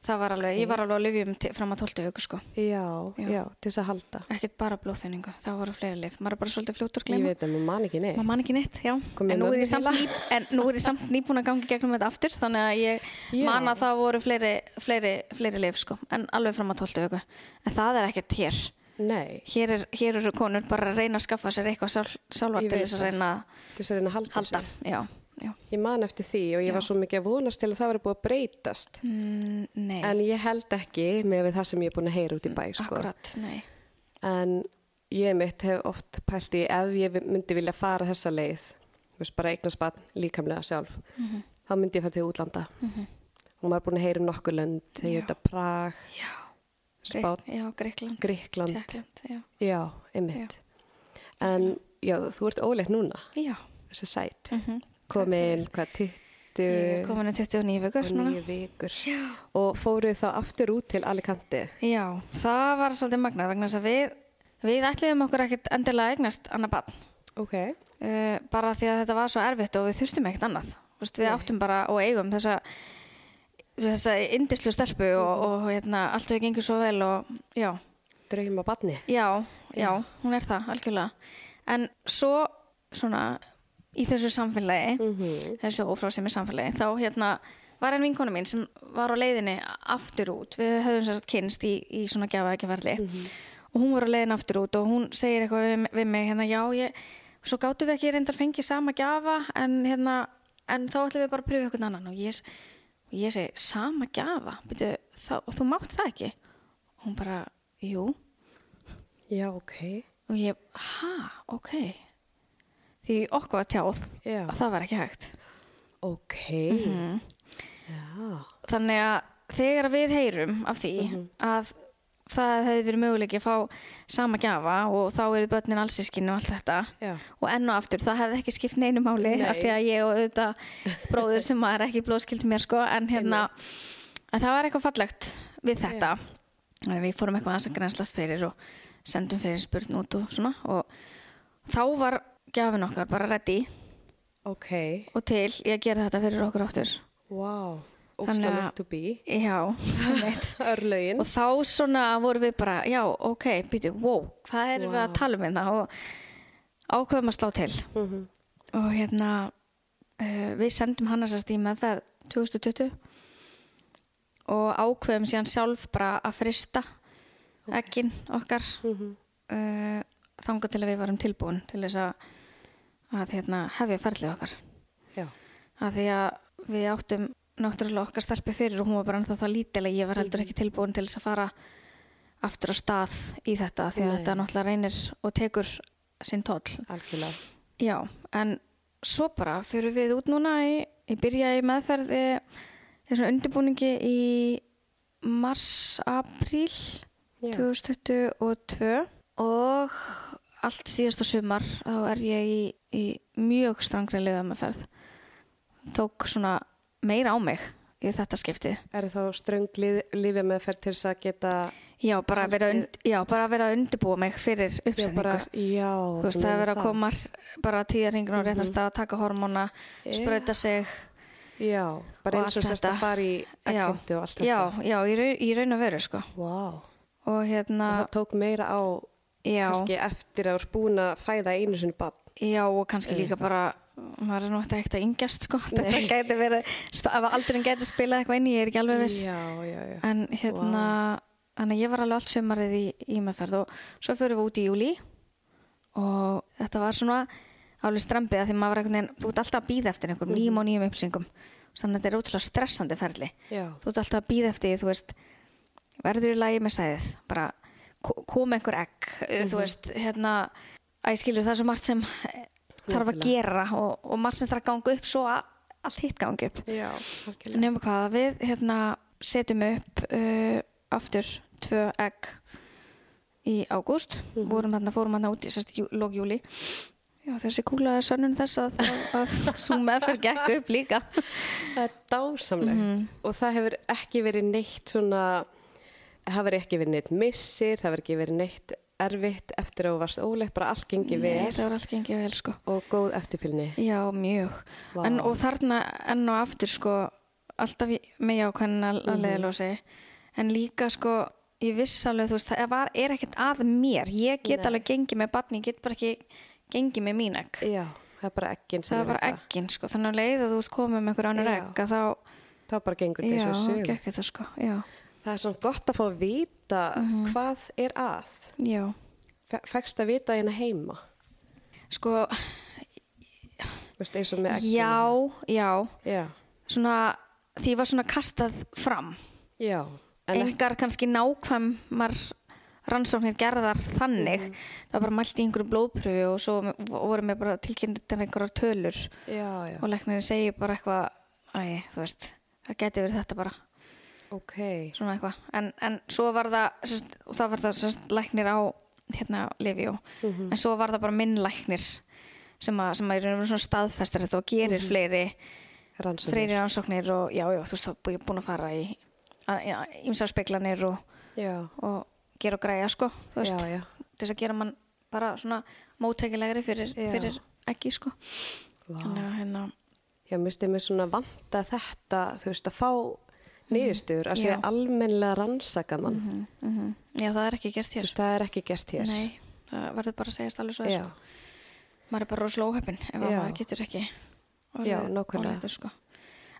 það var alveg, ég var alveg á lifjum til, fram að 12 auku sko. já, já, Já. til þess að halda. ekkert bara blóðþynningu, það voru fleiri lif maður er bara svolítið fljótur að Ég gleyma veit að maður man ekki neitt. maður man ekki neitt, já Kom með en nú, er ég mömmu samt ný, en nú er ég samt nýbúin að gangi gegnum þetta aftur þannig að ég Já. man að það voru fleiri, fleiri, fleiri lif sko, en alveg fram að 12 vöku en það er ekkert hér Nei, hér, er, hér eru konur bara að reyna að skaffa sér eitthvað sjálf, sjálfar Ég til veit þess að það. reyna að til þess að reyna að halda, halda sér. já, já. Ég man eftir því og ég Já. var svo mikið að vonast til að það var búið að breytast. Mm, nei, Mm, En ég held ekki með við það sem ég er búin að heyra út í bæ, sko. akkurat, nei En ég mitt hef oft pælt í ef ég myndi vilja fara þessa leið, veist, bara eignast barn líkamlega sjálf Mhm. þá myndi ég fara til útlanda og maður er búin að heyra um nokkur lönd þegar Já. ég veit að Prag, Já, Spán, Grikk- já Greikland, Gríkland Tékkland, já. já, einmitt en já, þú ert óleitt núna Já, þessu sæt mm -hmm. komin, hvað, ég er 20 komin í 29 vikur og núna. nýju vikur Já. og fóruð þá aftur út til Alicante já, það var svolítið magnar vegna þess að við, við ætliðum okkur ekkert endilega að eignast annað barn. ok, uh, bara því að þetta var svo erfitt og við þurftum ekkert annað Þú veist, við Nei. áttum bara og eigum þessa þessa indislu stelpu og, og hérna, allt við gengur svo vel og já, draugum á barni já, já, hún er það algjörlega, en svo svona í þessu Mm. samfélagi Mhm. þessu ófrásemi samfélagi þá hérna var einn vinkona mín sem var á leiðinni aftur út við höfum sérst kynst í, í svona gjafa ekki Mm. og hún var á leiðinni aftur út og hún segir eitthvað við, við mig hérna já ég, svo gáttum við ekki reyndar fengið sama gjafa en hérna en þá ætlum við bara að pröfa eitthvað annan og ég, s- og ég segi sama gjafa Byrju, þá, þú mátt það ekki og hún bara jú já, ok og ég ha ok því okkur var tjáð Já. að það var ekki hægt ok Mhm. já, þannig að þegar við heyrum af því að það hefði verið möguleiki að fá sama gjafa og þá eru börnin allsískinu og allt þetta já, og enn og aftur það hefði ekki skipt neinu máli Nei. af því að ég og auðvitað bróður sem maður er ekki blóðskild mér sko en hérna en það var eitthvað fallegt við þetta yeah. við fórum eitthvað aðeins að grenslast fyrir og sendum fyrir spurn út og svona og þá var gjafin okkar bara ready ok og til ég að gera þetta fyrir okkur áttur wow, Þannig ógstlega að- meant to (laughs) be já, veit örlögin og þá svona vorum við bara já, ok, býtu, wow, hvað erum við að tala um hérna og ákveðum að slá til Mhm, og hérna uh, við sendum hann að sérst í meðferð 2020 og ákveðum síðan sjálf bara að frista okay. ekkin okkar mm mhm. þangað til að við varum tilbúin til þess að, að hérna, hefja ferlið okkar já, að því að við áttum náttúrulega okkar stelpu fyrir og hún var bara ennþá það lítilega ég var heldur ekki tilbúin til þess að fara aftur á stað í þetta því að Nei. þetta náttúrulega reynir og tekur sinn tóll algjörlega já, en svo bara fyrir við út núna í, ég byrja í meðferði þessum undirbúningi í mars, apríl Já. 2022 og allt síðasta sumar þá er ég í, í mjög strangri liðameferð tók svona meira á mig í þetta skiptið er þá ströng lífið meðferð til þess að geta já, bara að vera, Haldið- und, já, bara að vera að undirbúa mig fyrir já, uppsetningu bara, já, Þú veist, það er verið að koma bara tíðarhingun og réttast að taka hormóna, Mhm. Já. sprauta sig. já, bara og eins og allt sérst að þetta. fara í Já, ekkindu og allt þetta já, já, í raun, í raun og veru, sko. wow. Og hérna, og það tók meira á já, kannski eftir að þú er búin að fæða einu sinni barn já, og kannski líka bara, maður er nú þetta ekkert að yngjast, sko. Þetta gæti verið, sp- ef aldurinn gæti spilað eitthvað inn í, ég er ekki alveg viss. já, já, já, En hérna, þannig að ég var alveg allt sömarið í, í meðferð og svo fyrir við út í júli og þetta var svona alveg strempið að því maður var einhvern veginn, þú ert alltaf að býða eftir Mhm. einhverjum nýjum og nýjum upplýsingum. Þannig að þetta er ótrúlega stressandi ferli. já. þú ert alltaf að býða eftir, þú veist, verður í lagi með sæðið, bara ko- kom einhver egg, Mhm. þú veist, hérna, að ég skilur það er svo margt sem þarf að Nákvæmlega. gera og, og margt sem þarf að ganga upp svo að allt hitt gangi upp. já algjörlega. Nefnum hvað, við hérna setjum upp uh, aftur tvö egg í ágúst, Mhm. vorum þarna, fórum þarna út í sérst jú, lók júli. Já, þessi kúla er sönnun þess að, að, að sú meðferð gekk upp líka. Mhm. Það er dásamlegt og það hefur ekki verið neitt svona, það hefur ekki verið neitt missir, það hefur ekki verið neitt erfitt eftir að þú varst óleitt, bara allt gengið Nei, vel það var allt gengið vel, sko. og góð eftirfylgni. Já, mjög. Vá. En, og þarna enn og aftur sko alltaf í- með jákvæðin að mm. leiðlósi Mhm. en líka sko ég viss alveg þú veist það var, er ekkert að mér ég get Nei. alveg gengið með batni, ég get bara ekki gengið með mín egg Já, það er bara ekkin sem það var bara eitthvað. eggin sko þannig að leið að þú ert komið með einhver annar Já. egg að þá, Það bara gengur já, þessu sög. gekk þetta sko já, Það er svona gott að fá að vita Mhm. hvað er að. já Fe- Fékkst að vita hérna heima, sko, veist, eins og með ekkin. já, já Já, svona, því var svona kastað fram já. En engar kannski nákvæmar rannsóknir gerðar þannig Mm. það var bara mælt í einhverju blóðpröfu og svo voru mér bara tilkynntir einhverjar tölur já, já, og læknirinn segir bara eitthvað æ, þú veist, það geti verið þetta bara ok svona eitthvað, en, en svo var það sérst, það var það sérst, læknir á hérna Livi og Mhm. Mm. en svo var það bara minn læknir sem að, sem að í raun og veru svona staðfestar þetta og gerir fleiri fleiri Mm. rannsóknir rannsóknir og já, já, þú veist, þá er ég búin að fara í ímsafspeglanir og, já, og gera og græja, sko, þú veist, já, já, til þess að gera mann bara svona móttækilegri fyrir, Já. fyrir ekki, sko. Vá. Þannig að hérna, já, misti mér svona vanta þetta, þú veist, að fá niðurstöður, að sé Mhm. Já. Mhm. almennilega rannsaka mann, já, það er ekki gert Mhm, þú hér. veist, það er ekki gert hér Nei, það verður bara að segjast alveg svo, er, já, sko. maður er bara rosalega óhefinn ef að Já. maður getur ekki Já, nákvæmlega. óléttur, sko.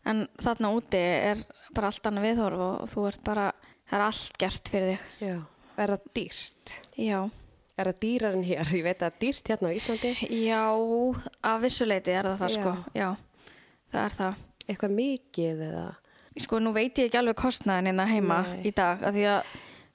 en þarna úti er bara allt annað viðhorf og þú ert bara það er allt gert fyrir þig já, er það dýrt já, er það dýrar en hér, (laughs) ég veit að það er dýrt hérna á Íslandi, já að vissuleiti er það það Já. sko já, það er það eitthvað mikið eða, sko nú veit ég ekki alveg kostnaðin innan heima Nei. í dag af því að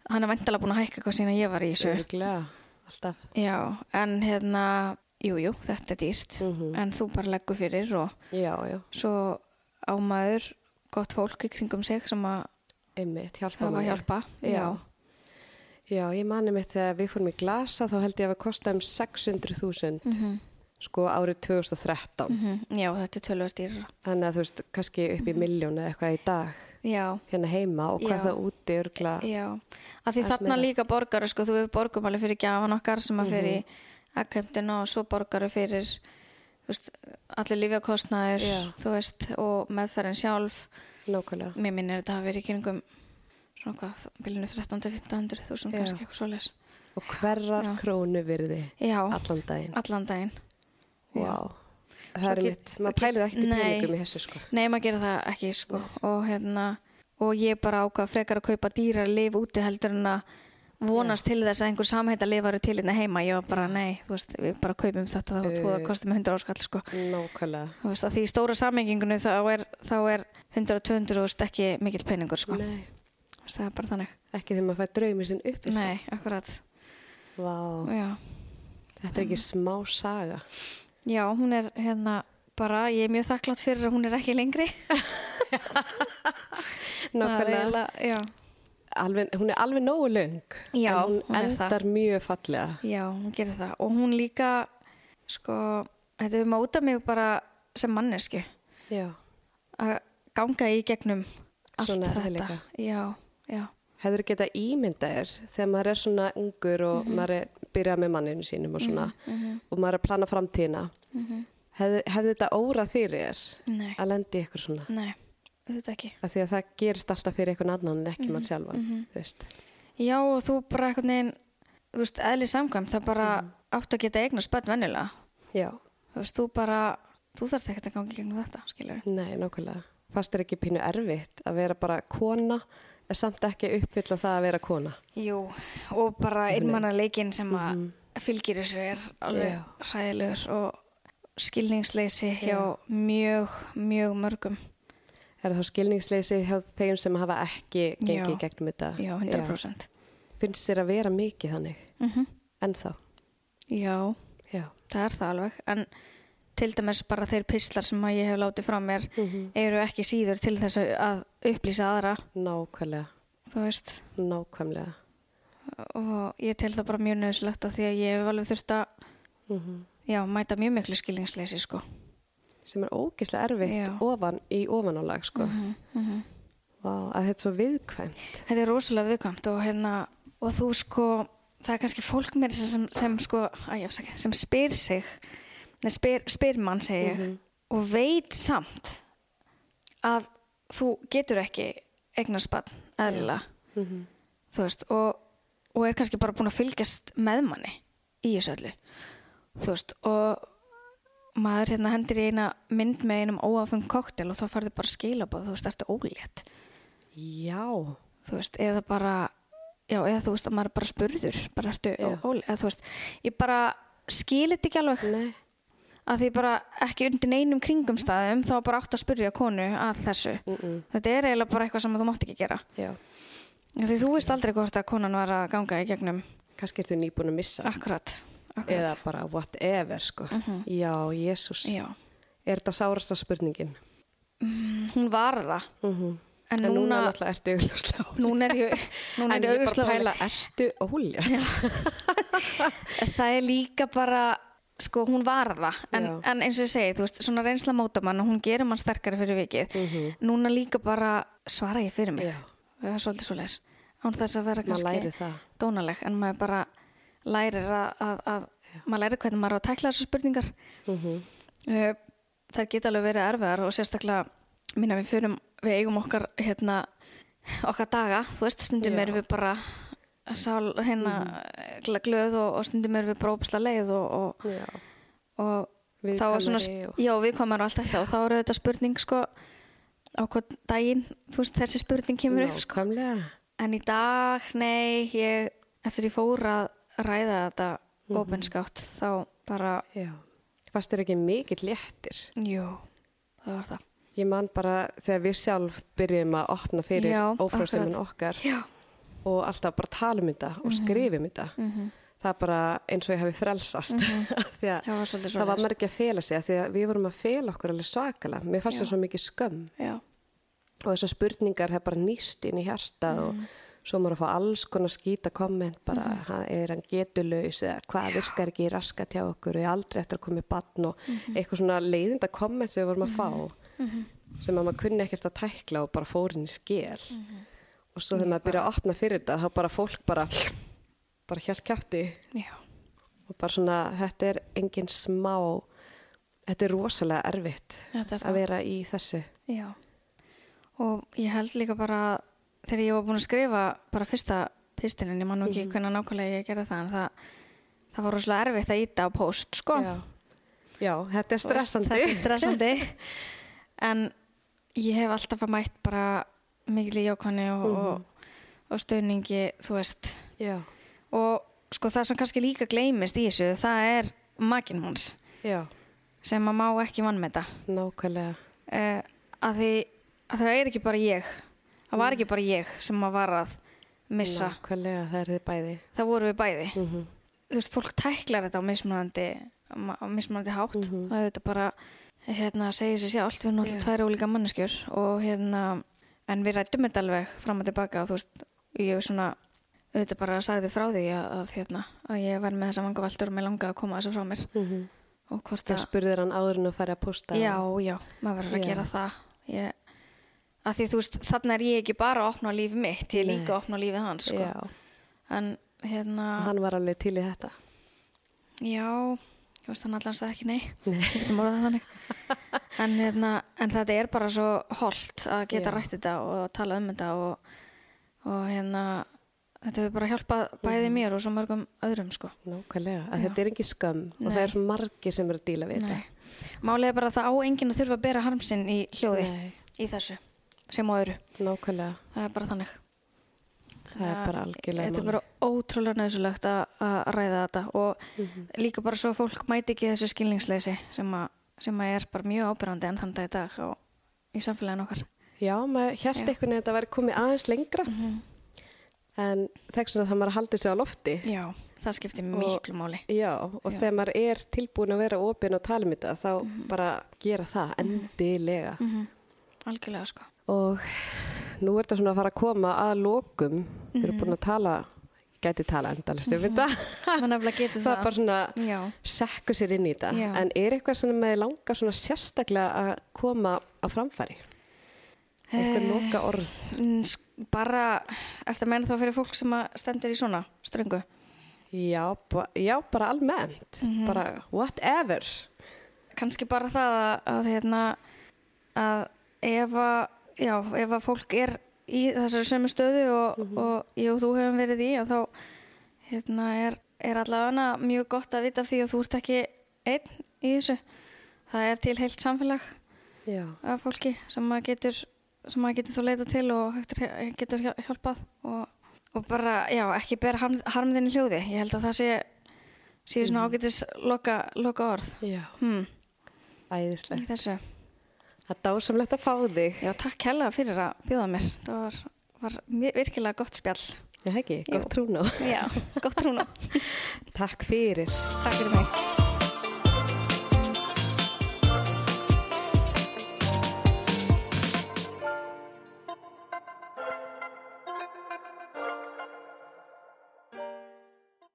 hann er vandalega búin að hækka hvað sína ég var í þessu örgulega alltaf, já, en hérna jújú, jú, þetta er dýrt Mhm. en þú bara leggur fyrir og já, já svo á maður gott fólk í kringum sig sem að einmitt, hjálpa hafa að manni. hjálpa Já. já. Já, ég mani mitt þegar við fórum í glasa þá held ég að við kostaðum 600.000 sko árið 2013 Mhm, já, þetta er tölvöld dýrara þannig að þú veist, kannski upp í milljón eða eitthvað í dag já, hérna heima og hvað Já. það úti örgla já að því Aðeins þarna meira. líka borgaru sko, þú við borgum alveg fyrir gjafan okkar sem að Mhm. fyrir akkjöndina og svo borgaru fyrir þú veist, allir lífjakostnaður Já. þú veist, og meðferðin sjálf nákvæmlega mér minnir þetta hafi verið í kringum svona hvað, bilinu 13-1500 þú sem Já. kannski eitthvað svoleiðis og hverrar Já. krónu virði já, allan daginn allan daginn Já. Vá. það Svo er get- mitt, maður pælir ekki Nei. peningum í þessu sko Nei, maður gera það ekki, sko. Og hérna, og ég bara ákvað frekar að kaupa dýrar lif úti heldur en að vonast til þess að einhver samheita lif eru til hérna heima. Ég var bara, nei, þú veist, við bara kaupum þetta þá þú Eh. að kostum 100 áskall, sko. nákvæmlega Þú veist, að því í stóra samhengingunni þá er, þá er 100-200 úrst ekki mikill peningur, sko. Nei. Þú veist, það er bara þannig. ekki þegar maður fæði draumi sinn upp Nei, akkurat. Vá. Já. þetta er ekki smá saga Já, hún er hérna bara, ég er mjög þakklátt fyrir að hún er ekki lengri. Það er nákvæmlega, eiginlega- Já, alveg, hún er alveg nógu löng Já, en hún, hún er það. endar mjög fallega Já, hún gerir það og hún líka sko, þetta við móta mig bara sem mannesku já. að ganga í gegnum allt Svona þetta erfiðleika. Já, já, hefur geta ímynda þér þegar maður er svona ungur og Mhm. maður er byrjað með manninu sínum og svona og maður er að plana framtíðina hefði, hefði þetta órað fyrir þér nei, að lendi ykkur svona nei þetta ekki af því að það gerist alltaf fyrir einhvern annan en ekki Mhm, mann sjálfan þú veist. Já, og þú bara eitthvað neginn þú veist, eðli samkvæm, það bara átt að geta eignar spönd vennilega já, þú veist, þú bara, þú þarft ekkert að ganga í gegnum þetta, skilur nei, nákvæmlega fast er ekki pínu erfitt að vera bara kona er samt ekki uppfylla það að vera kona Jú, og bara innmannaleikin sem Mhm. að fylgir þessu er alveg Já. hræðilegur og skilningsleysi hjá mjög, mjög mörgum. er það skilningsleysi hjá þeim sem hafa ekki gengið Já. í gegnum þetta Já, 100%. finnst þér að vera mikið þannig Já. ennþá Mhm. Já, já, það er það alveg. En til dæmis bara þeir píslar sem að ég hef látið frá mér eru ekki síður til þess að upplýsa aðra, nákvæmlega þú veist. Nákvæmlega. Og ég tel það bara mjög nöðslegt af því að ég hef alveg þurft að Mm já, mæta mjög miklu skilningsleysi, sko. Sem er ógeðslega erfitt Já. ofan í ofanálag, sko. Mm Vá, að þetta er svo viðkvæmt. Þetta er rosalega viðkvæmt og hérna og þú sko, það er kannski fólk mér sem, sem sko, að ég afsaka sem spyr sig, neð spyr, spyr mann segi Mhm. ég og veit samt að þú getur ekki eignarspann eðlilega, Mhm, þú veist og, og er kannski bara búin að fylgjast með manni í þessu öllu þú veist og maður hérna hendir í eina mynd með einum óafung koktel og þá færðu bara skilabóð, þú veist, ertu ólétt Já. þú veist, eða bara já, eða þú veist að maður er bara spurður bara ertu Já. óli, eða þú veist ég bara skil þetta ekki alveg Nei. að því bara ekki undir neinum kringumstæðum þá bara átt að spurja konu að þessu Mm -mm. þetta er eiginlega bara eitthvað sem þú mátt ekki gera Já. Já, Því þú veist aldrei hvort að konan var að ganga í gegnum. kannski ertu nýbúin að missa Akkurat. Akkurat. Mhm. eða bara whatever sko já, jésús Já. er þetta sárasta spurningin Hún var það. mm En, en núna, núna, náttúrulega ertu augljóslega ólétt. núna (laughs) er ég, núna en er ég ég er bara að auðvitað pæla ertu ólétt En það er líka bara sko hún var það en, Já. en eins og ég segi, þú veist, svona reynsla móta mann og hún gerir mann sterkari fyrir vikið Mhm. núna líka bara svara ég fyrir mig Já. það er svolítið svo les án þess að vera maður læri kannski það dónaleg en maður bara lærir að, að, að maður lærir hvernig maður á að tækla þessu spurningar mm Eh, þær geta alveg verið erfiðar og sérstaklega minna við förum, við eigum okkar hérna, okkar daga þú veist, stundum Já. Mhm. erum við bara sál, hérna, gl- glöð og, og stundum erum við bara ópsla leið og, já, og, og þá er Viðkvæmari svona, og- já, við komum allt þetta og þá eru þetta spurning sko á hvað daginn, þú veist, þessi spurning kemur upp sko, nákvæmlega en í dag nei, ég, eftir ég fór að ræða þetta mm opinskátt þá bara, já fast er ekki mikill léttir jú það var það Ég man bara þegar við sjálf byrjum að opna fyrir Já, ófrjósemin okkar já og alltaf bara tala um þetta Mhm. og skrifum þetta. Það er bara eins og ég hafi frelsast. Mm Mhm. (laughs) -hmm. Það var svolítið það var svoleiðis. maður ekki að fela sig af því að við vorum að fela okkur alveg svakalega. Mér fannst Já. það svo mikið skömm Já, og þessar spurningar hef bara nýst inn í hjarta og Mm. svo maður að fá alls konar skýta komment bara mm. er hann getulaus eða hvað virkar ekki raskat hjá okkur og ég aldrei eftir að koma í batn og Mhm. eitthvað svona leiðinda komment sem við vorum að fá Mhm. sem að maður kunni ekkert að tækla og bara fór inn í skél Mhm. og svo þegar maður byrja að opna fyrir þetta þá bara fólk bara bara hjælt kjátti já, og bara svona þetta er engin smá þetta er rosalega erfitt þetta er að það. vera í þessu Já. Og ég held líka bara að þegar ég var búin að skrifa bara fyrsta pistinin, ég man nú ekki Mhm. hvernig nákvæmlega ég gerði það, en það, það var rosalega erfitt að íta á post, sko. Já. Já, þetta er Þú veist, stressandi. Þetta er stressandi. (laughs) en ég hef alltaf að mætt bara mikil í jókvæmni og, Mhm. og, og stöðningi, þú veist. Já, Og sko það sem kannski líka gleymist í þessu, það er maginn hans já, sem að má ekki vannmeta. nákvæmlega. uh, að, því, að það er ekki bara ég það Mm. var ekki bara ég sem að var að missa, Mhm, Nákvæmlega, það er þið bæði. það voru við bæði Mm -hmm. þú veist, fólk tæklar þetta á mismunandi ma- á mismunandi hátt Mhm. það er þetta bara, hérna, segir sér sjálft við erum Já. alltaf tvær ólíka manneskjur og hérna, en við rættum þetta alveg fram og tilbaka og þú veist, ég svona auðvitað bara sagði frá því að, að, hérna, að ég var með þessa vangaveltur og mér langaði að koma þessu frá mér Mm -hmm. og hvort Það að spurðir hann áður en að fara að posta. Já, já, maður verður að Já. gera það. Ég, að því þú veist, þannig er ég ekki bara að opna líf mitt, ég er Nei. líka að opna lífið hans, sko. Já, En hérna, hann var alveg til í þetta. já, ég veist hann allan sagði ekki nei, ég getum orðað það þannig. (laughs) en hérna, en þetta er bara svo holt að geta Já. rætt þetta og tala um þetta og, og hérna, þetta hefur bara hjálpað bæði Mm. mér og svo mörgum öðrum, sko. Nákvæmlega, að Já. þetta er engin skömm og Nei. það er svo margir sem eru að díla við Nei. Málið er bara að það á enginn að þurfa að bera harmsinn í hljóði, Nei. í þessu, sem og öðru. þetta. Nákvæmlega, Það er bara þannig. það er bara algjörlega Þetta er málið. bara ótrúlega nöðsulegt að, að ræða þetta og Mhm. líka bara svo að fólk mæti ekki þessu skilningsleysi sem að, sem að er bara mjög ábyrrandi enn þann dag í dag og í samfélaginu okkar. Já, maður held Já. einhvern veginn að þetta væri komið aðeins lengra en þekst svona að það maður haldi sig á lofti. Já, það skiptir miklu máli. Já, og Já. þegar maður er tilbúin að vera opinn og tala um þetta, þá bara gera það endilega. Mhm. Algjörlega sko. Og nú er þetta svona að fara að koma að lokum. Við erum búin að tala, gæti tala endalist um þetta. Það nefnilega getur (laughs) það er það. bara svona Já. sekku sér inn í þetta. Já. En er eitthvað sem maður langar svona sérstaklega að koma á framfæri? Eitthvað loka orð? Mm, sk- Bara, ertu að meina þá fyrir fólk sem að stendur í svona ströngu? Já, ba já bara almennt. Bara whatever. kannski bara það að, að hérna að ef að, já, ef að fólk er í þessari sömu stöðu og, og ég og þú hefum verið í að þá hérna er, er allavega mjög gott að vita af því að þú ert ekki einn í þessu það er til heilt samfélag Já, af fólki sem maður getur sem maður getur þú leita til og hægt er, getur hjál- hjálpað og, og bara, já, ekki bera harm, harmðin í hljóði ég held að það sé séu svona ágætis loka, loka orð já. hmm, Æðislega. í þessu Það er dásamlegt að fá þig. Já, takk hella fyrir að bjóða mér. Það var var mi- virkilega gott spjall. Já, það ekki, Jú. gott trúna. Já, gott rúna. Takk fyrir. Takk fyrir mig.